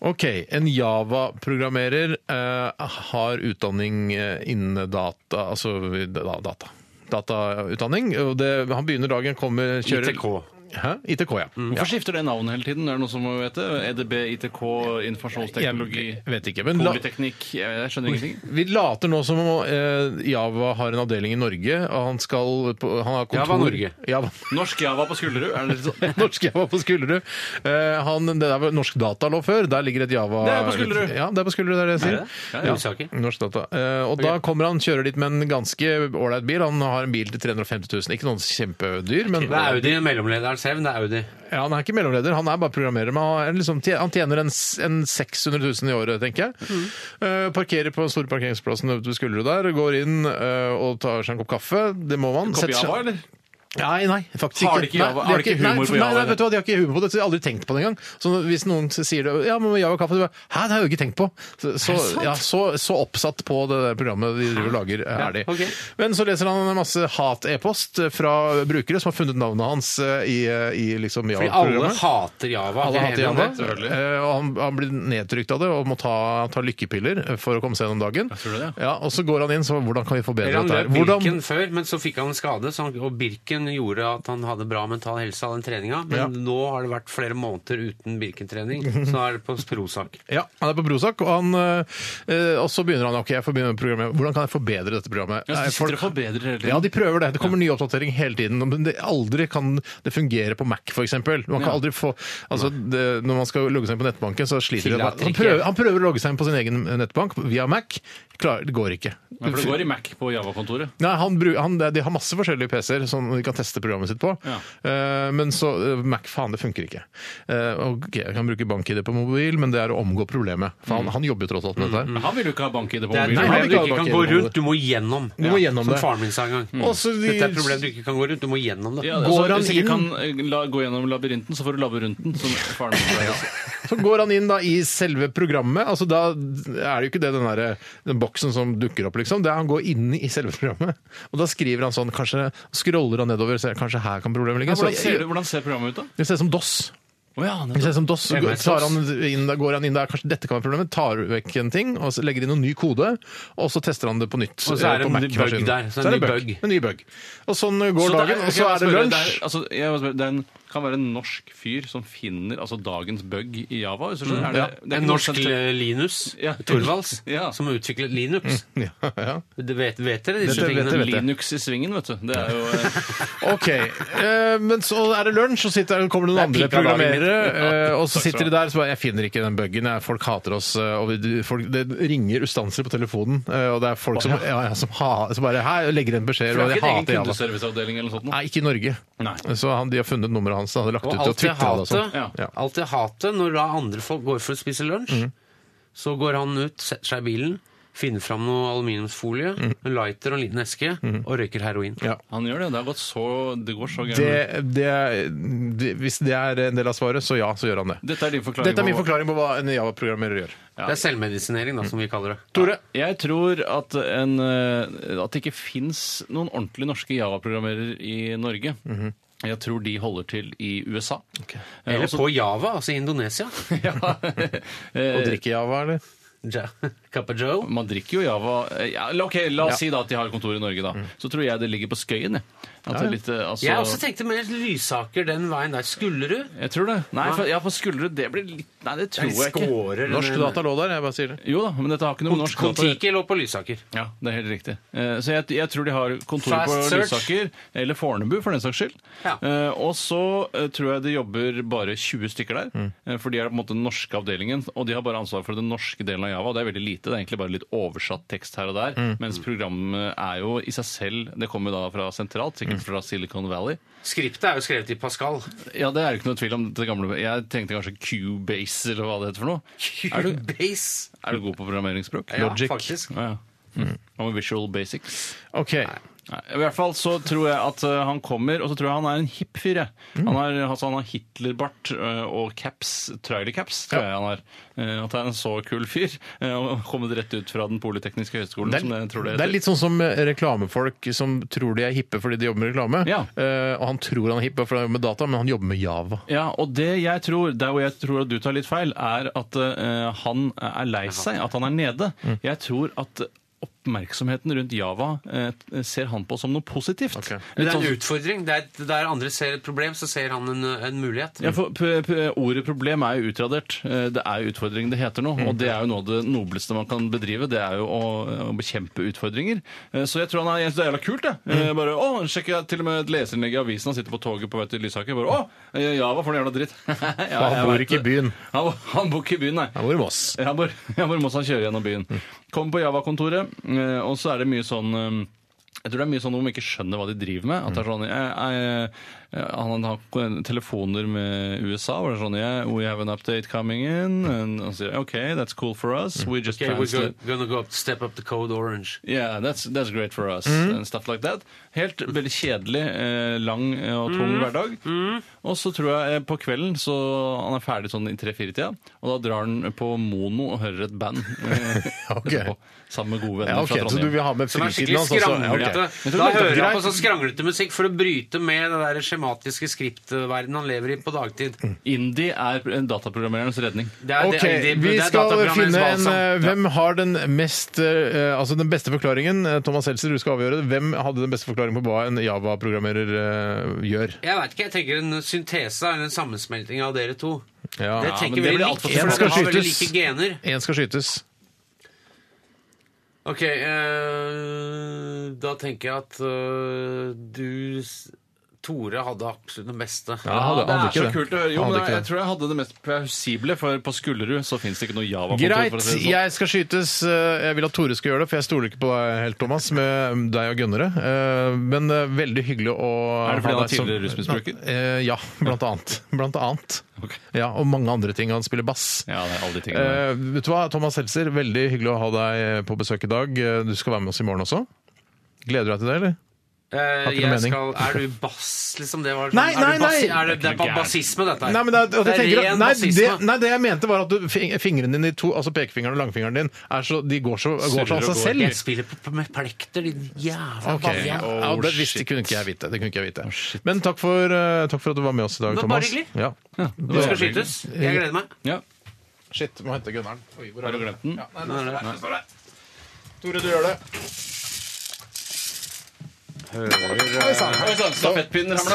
Ok, en Java-programmerer eh, har utdanning eh, innen data, altså da, data. Datautdanning. og det- Han begynner dagen, kommer, kjører Hæ? ITK, ja.
Hvorfor skifter det navn hele tiden? Er det noe som må vite? E EDB, ITK, informasjonsteknologi,
Jeg vet ikke, men la,
polyteknikk Jeg jeg skjønner ingenting.
Vi later nå som om eh, Java har en avdeling i Norge, og han skal på, han har kontor
Java Norge.
Java,
Norsk Java på Skullerud? Er det litt sånn?
norsk Java på Skullerud. Eh, han, det der var norsk data lå før. Der ligger et Java
Det er på Skullerud.
Ja, det er på Skullerud, det er det jeg sier.
Ja, det er Ulsaker.
Norsk data. Eh, og da kommer han, kjører dit med en ganske ålreit bil. Han har en bil til 350 000. Ikke noen kjempedyr,
Det
men
er Audi mellomlederens hevn. Det er Audi.
ja, han er ikke mellomleder, han er bare programmerer. Men han, er liksom, han tjener en, s- en 600 000 i året, tenker jeg.
Mm.
Eh, parkerer på den store parkeringsplassen ute ved Skullerud der, går inn eh, og tar seg en kopp kaffe. Det må man.
Kopi
Setter seg-
Java, eller?
Nei, nei, faktisk
Har de
ikke.
ikke Java-
Nei,
har de ikke humor
nei,
på
nei,
Java,
Nei, vet du hva, de har ikke humor på det, så jeg har aldri tenkt på det engang. Så hvis noen sier det, ja, men Java kaffe, du bare, hæ, det har jeg jo ikke tenkt på. Så, så, ja, så, så oppsatt på det der programmet de
Ah,
driver og lager, eh, er de.
ok.
Men så leser han en masse hat-e-post fra brukere som har funnet navnet hans eh, i, i liksom
Fordi alle
Java-programmet.
hater Java.
Alle
Vi er enige
hater
om
Java,
det.
eh, og han, han blir nedtrykt av det og må ta, ta lykkepiller for å komme seg gjennom dagen.
tror det,
Ja, og så går han inn, så hvordan kan vi forbedre
Eller han
dette her?
løp Birken
Hvordan,
før, men så fikk han en skade, så han, og Birken gjorde at han hadde bra mental helse av den treninga. Men
Ja.
nå har det vært flere måneder uten Birken-trening, så nå er det på Prozac.
Ja, han er på Prozac, og, han, eh, og så begynner han ok, jeg får begynne med programmet. Hvordan kan jeg forbedre dette programmet?
Ja, så
Nei,
de sitter og
folk-
forbedrer hele
ja,
tiden.
de prøver det. Det kommer ny oppdatering hele tiden. Men det aldri kan det fungere på Mac, f.eks. Man kan
Ja.
aldri få altså, det, Når man skal logge seg inn på nettbanken, så sliter det.
Tillater
Han
ikke.
prøver, han prøver å logge seg inn på sin egen nettbank via Mac. Klar, det går ikke.
Nei, for det går i Mac på Java-kontoret.
Nei, han, bru- han, De har masse forskjellige PC-er som de kan teste programmet sitt på.
Ja.
Eh, men så eh, Mac, faen, det funker ikke. Eh, ok, Jeg kan bruke bank-ID på mobil, men det er å omgå problemet. For
Mm.
han, han jobber jo tross alt med dette. her.
Men han vil jo ikke ha bank-ID på
Det er et
Nei,
mobilen.
han
problem du
vil ikke
ikke
ha
kan
bak
gå
gjennom
rundt, du må gjennom.
Du må gjennom
Som
det.
faren min sa en gang.
Og så de-
Dette er et problem du ikke kan gå rundt, du må gjennom det.
Ja,
Går
altså,
han
hvis ikke kan
inn?
eh, la, gå gjennom labyrinten, så får du labyrinten, som faren min pleier å si.
Så går han inn da i selve programmet. altså Da er det jo ikke det den, der, eh, den boksen som dukker opp, liksom. Det er han går inn i selve programmet. Og da skriver han sånn, kanskje scroller han nedover, ser kanskje her kan problemet ligge.
Ja, hvordan, ser,
så,
du- hvordan ser programmet ut, da?
det ser ut som DOS.
Å ja,
Det
nettopp.
ser ut som DOS. Så går-
MS-DOS.
tar han inn, der, går han inn der, kanskje dette kan være problemet, tar vekk en ting, og så legger inn noen ny kode, og så tester han det på nytt.
Og så er
eh,
det
på
en ny bug
Mac-maskinen.
der, så
Så er det en ny bug. En ny bug. Og sånn går
Så det er-
dagen, og
jeg
så
må
er det
spørre,
lunsj.
er- altså, jeg må spørre, det er en, kan være en norsk fyr som finner altså, dagens bug i Java? Hvis du
Mm,
skjønner. Er det, det er
En
ikke
norsk
noe sentralt-
eh, Linus
Ja.
Torvalds,
Ja.
som har utviklet Linux.
Ja, ja.
Du vet, vet dere disse
Mm. Dette vet
tingene?
jeg.
Linux i svingen, vet du. Det er jo eh,
Ok, eh, men så er det lunsj, og sitter, kommer det noen
Det
andre
er peak av dagen
programmerere, eh, og så
Takk skal
sitter de
du
der, så bare, jeg finner ikke den buggen, jeg- folk hater oss, eh, og vi, folk, det ringer ustanser på telefonen, eh, og det er folk som, ja, ja, som, ha, som bare, hei, legger en beskjed,
For
og
det er
jeg
ikke en egen
hater Java.
kundeserviceavdeling eller noe sånt? nå?
Nei, ikke i Norge.
Nei.
Så han, de har funnet nummeret hans, han hadde lagt
Og
ut og
alt jeg
twitteret det og sånn.
hater,
Ja.
Ja. Mm.
alt jeg hater når da andre folk går for å spise lunsj, så går han ut, setter seg i bilen, finner fram noe aluminiumsfolie, en lighter og en liten eske, og røyker heroin.
Mm. Ja.
Han gjør det. Det, har gått så, det går så gærent.
Det, det, det, hvis det er en del av svaret, så ja, så gjør han det.
Dette er din forklaring.
Dette er min
på-
forklaring på hva en Java-programmerer gjør.
Det er selvmedisinering, da, som vi kaller det.
Tore?
Jeg tror at, en, eh, at det ikke fins noen ordentlig norske Java-programmerere i Norge. Jeg tror de holder til i USA. Eh,
Eller
også-
på Java, altså i Indonesia.
ja.
Og
Eh,
drikke Java, eller?
Ja. Kappa Joe.
Man drikker jo Java eh, ja, eller Ok, La oss si da at de har kontor i Norge, da. Så tror jeg det ligger på Skøyen. Jeg, at det er litt, eh, altså,
Jeg også tenkte mer Lysaker den veien der. Skullerud?
jeg tror det. Nei, for, ja, på Skullerud det blir litt Nei, det tror jeg ikke.
Skårer
Norsk data lå der, jeg bare sier det.
Jo da, men dette har ikke noe med norsk data å gjøre.
Kon-Tiki lå på Lysaker.
Ja, det er helt riktig. Eh, Så jeg, jeg tror de har kontor
Fast
på
search.
Lysaker, eller Fornebu for den saks skyld.
Ja.
Eh, Og så eh, tror jeg det jobber bare 20 stykker der, eh, for de er på en måte den norske avdelingen, og de har bare ansvar for den norske delen av Java, og det er veldig lite, det er egentlig bare litt oversatt tekst her og der, mens programmet er jo i seg selv, det kommer jo da fra sentralt, sikkert sikkert fra Silicon Valley.
Skriptet er jo skrevet i Pascal.
Ja, det er det ikke noe tvil om. det gamle. Jeg tenkte kanskje Cubase eller hva det heter for noe. Er du,
Base.
er du god på programmeringsspråk?
Ja,
Logic.
faktisk.
Ja, ja. Hva med visual basics?
OK.
Nei, I hvert fall så tror jeg at eh, han kommer, og så tror jeg han er en hipp fyr. jeg.
Mm.
Han har, altså, han har Hitlerbart eh, og caps, trailercaps, tror jeg han har. Eh, At han er en så kul fyr. eh, Og kommet rett ut fra den polytekniske høgskolen,
Det er,
som jeg tror det
det er
heter.
litt sånn som reklamefolk som tror de er hippe fordi de jobber med reklame.
Ja.
Eh, og han tror han er hipp bare fordi han jobber med data, men han jobber med Java.
Ja, og det jeg tror, der hvor jeg tror at du tar litt feil, er at eh, han er lei seg, at han er nede.
Mm.
Jeg tror at oppmerksomheten rundt Java eh, ser han på som noe positivt.
Ok.
Men det
Litt
er en
sånn-
utfordring. Det er, et- der andre ser et problem, så ser han en, en mulighet.
Ja, for p p Ordet problem er jo utradert. Eh, Det er jo utfordring det heter nå.
Mm.
Og det er jo noe av det nobleste man kan bedrive. Det er jo å, å bekjempe utfordringer. Eh, Så jeg tror han er, jeg synes det er jævla kult, det.
Mm.
Eh, Bare, å, sjekker jeg til og med et leserinnlegg i avisen. Han sitter på toget på vei til Lysaker. Bare, å, eh, Java for noe jævla dritt. Ja, jeg
bor
vet
ikke i
det.
byen.
Han, han bor ikke i byen, nei.
Han bor i Moss.
Ja, hvor, ja, hvor Moss han kjører gjennom byen. Kommer på Java-kontoret, eh, og så er det mye sånn eh, jeg tror det er mye sånn hvor man ikke skjønner hva de driver med. At det er sånn, jeg, jeg, Han har telefoner med USA hvor det er sånn yeah, We have an update coming in. And han sier OK, that's cool for us. We just
Okay, we're go,
translate-
gonna go up, step up the code orange.
Yeah, that's, that's great for us.
Mm.
And stuff like that. Helt veldig kjedelig, eh, lang og tung
Mm.
hverdag. Og så tror jeg eh, på kvelden, så han er ferdig sånn i tre-fire-tida, og da drar han på mono og hører et band. eh,
Ok.
etterpå, Sammen med gode venner
Ja, ok,
fra
Så du
Trondheim.
vil ha med
Som er
fritiden
skikkelig
hans? også? Ja, ok.
skranglete.
Men så
Da
er det
hører
greit.
han på sånn skranglete musikk for å bryte med det der skjematiske skriptverdenen han lever i på dagtid.
Mm.
Indie er en dataprogrammerernes redning.
Det er,
Ok,
det, det,
vi
det er
skal
dataprogrammerens
finne en
balsam.
eh, Hvem har den mest eh, Altså den beste forklaringen? Eh, Thomas Seltzer, du skal avgjøre det. Hvem hadde den beste forklaringen på hva en Java-programmerer eh, gjør?
Jeg vet ikke, jeg tenker en syntese eller en sammensmelting av dere to.
Ja.
Det
men det
tenker
blir
veldig
alt for
likt, for
spennende.
dere har veldig
Skal
like
skytes.
gener.
Én skal skytes.
Ok, eh, da tenker jeg at eh, du, s- Tore, hadde absolutt den beste.
Ja, hadde-
det
hadde
er
ikke
så
det.
kult å høre. Jo,
Hadde
men
ikke
jeg, jeg
det.
tror jeg hadde det mest plausible, for på Skullerud så fins det ikke noe Java-kontor.
Greit,
for å si det sånn.
jeg skal skytes. Eh, Jeg vil at Tore skal gjøre det, for jeg stoler ikke på deg helt, Thomas, med deg og gønnere. Eh, Men eh, veldig hyggelig å
Er det fordi han
ha
er
deg som-
tidligere rusmisbruker?
Eh, Ja, blant annet. Blant annet.
Ok.
Ja, og mange andre ting. Han spiller bass.
Ja, det er alle de tingene. der.
Eh, vet du hva, Thomas Seltzer, veldig hyggelig å ha deg på besøk i dag. Eh, Du skal være med oss i morgen også. Gleder du deg til det, eller?
Eh,
Har ikke noe
jeg
mening.
skal, er du bass, liksom? Det var,
Nei, nei,
er du bass,
nei.
Er det, det er
Det er
ba- bassisme, dette her.
Nei, men det, er- at jeg tenker, at-
ren
nei,
bassisme.
det, nei, det jeg mente var at du, fing- fingrene dine, i to, altså pekefingeren og langfingeren din, er så, de går så, går så
Surrer
av
og
seg
går.
selv.
Jeg spiller på, på, med plekter, din jævla
Ok,
bavian.
ja,
Oh,
det, visste,
shit. Oh,
kunne ikke jeg vite. Det kunne ikke jeg vite. Men takk for, eh, takk for at du var med oss i dag,
Det var bare
Thomas.
hyggelig.
Ja.
Du skal skytes. Jeg gleder meg.
Ja.
Shit, må hente gunneren. Oi, hvor
Har du glemt den?
Ja, nei, nei, nei, nei, nei. Tore, du gjør det. Oi sann.
Oi sann, stafettpinnen ramla.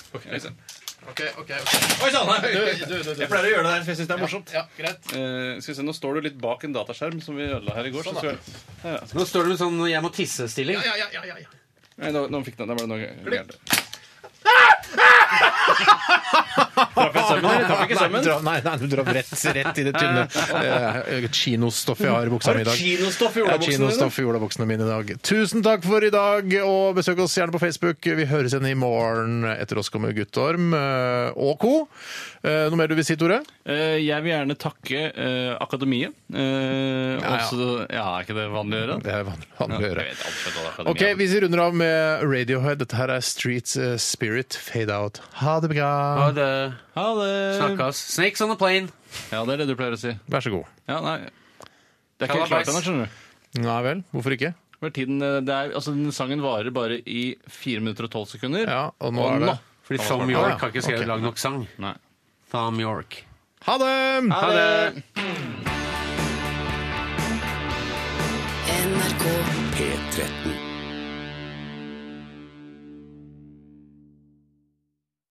Ok, ok, ok.
Oi sann! nei.
Du, du, du, du.
Jeg pleier å gjøre det der, for jeg syns det er morsomt.
Ja, greit.
Eh, skal vi se, Nå står du litt bak en dataskjerm som vi ødela her i
Sånn,
går. Så skal jeg...
Nå står du med sånn 'jeg må tisse'-stilling.
Ja, ja, ja, ja, ja.
Nei, nå, nå fikk den. Da ble det noe gærent. Traff jeg sømmen? eller? Traff jeg ikke
Nei, du
sømmen?
drar- nei, nei, du drar rett, rett i det tynne eh, kinostoffet jeg har i buksa mi i dag.
kinostoff i
Jeg har
olabuksene dine?
kinostoff i olabuksene mine i dag. Tusen takk for i dag, og besøk oss gjerne på Facebook. Vi høres igjen i morgen. Etter oss kommer Guttorm eh, og co. Eh, Noe mer du vil si, Tore?
Eh, jeg vil gjerne takke eh, Akademiet. Eh,
Ja, ja.
også- ja, er ikke det vanlig å gjøre?
Det er vanlig, vanlig å
Jeg
gjøre.
vet alt for hva
Ok,
Akademiet er.
vi runder av med Radiohead. Dette her er Street eh, Spirit Fade Out. Ha det bra.
Ha det.
Ha det!
Snakkes. Snakes on the plane.
Ja, det er det du pleier å si.
Vær så god.
Ja, nei. Det er ikke helt
Kalabais.
klart ennå, skjønner du.
Nei vel, hvorfor ikke?
Hvor tiden, eh, det er, altså, den sangen varer bare i 4 minutter og 12 sekunder.
Ja, og nå er det
Fordi Tom
Ja,
York
ja.
har ikke skrevet
Ok.
lang nok sang.
Nei.
Tom York.
Ha det!
Ha det!
NRK.
P13.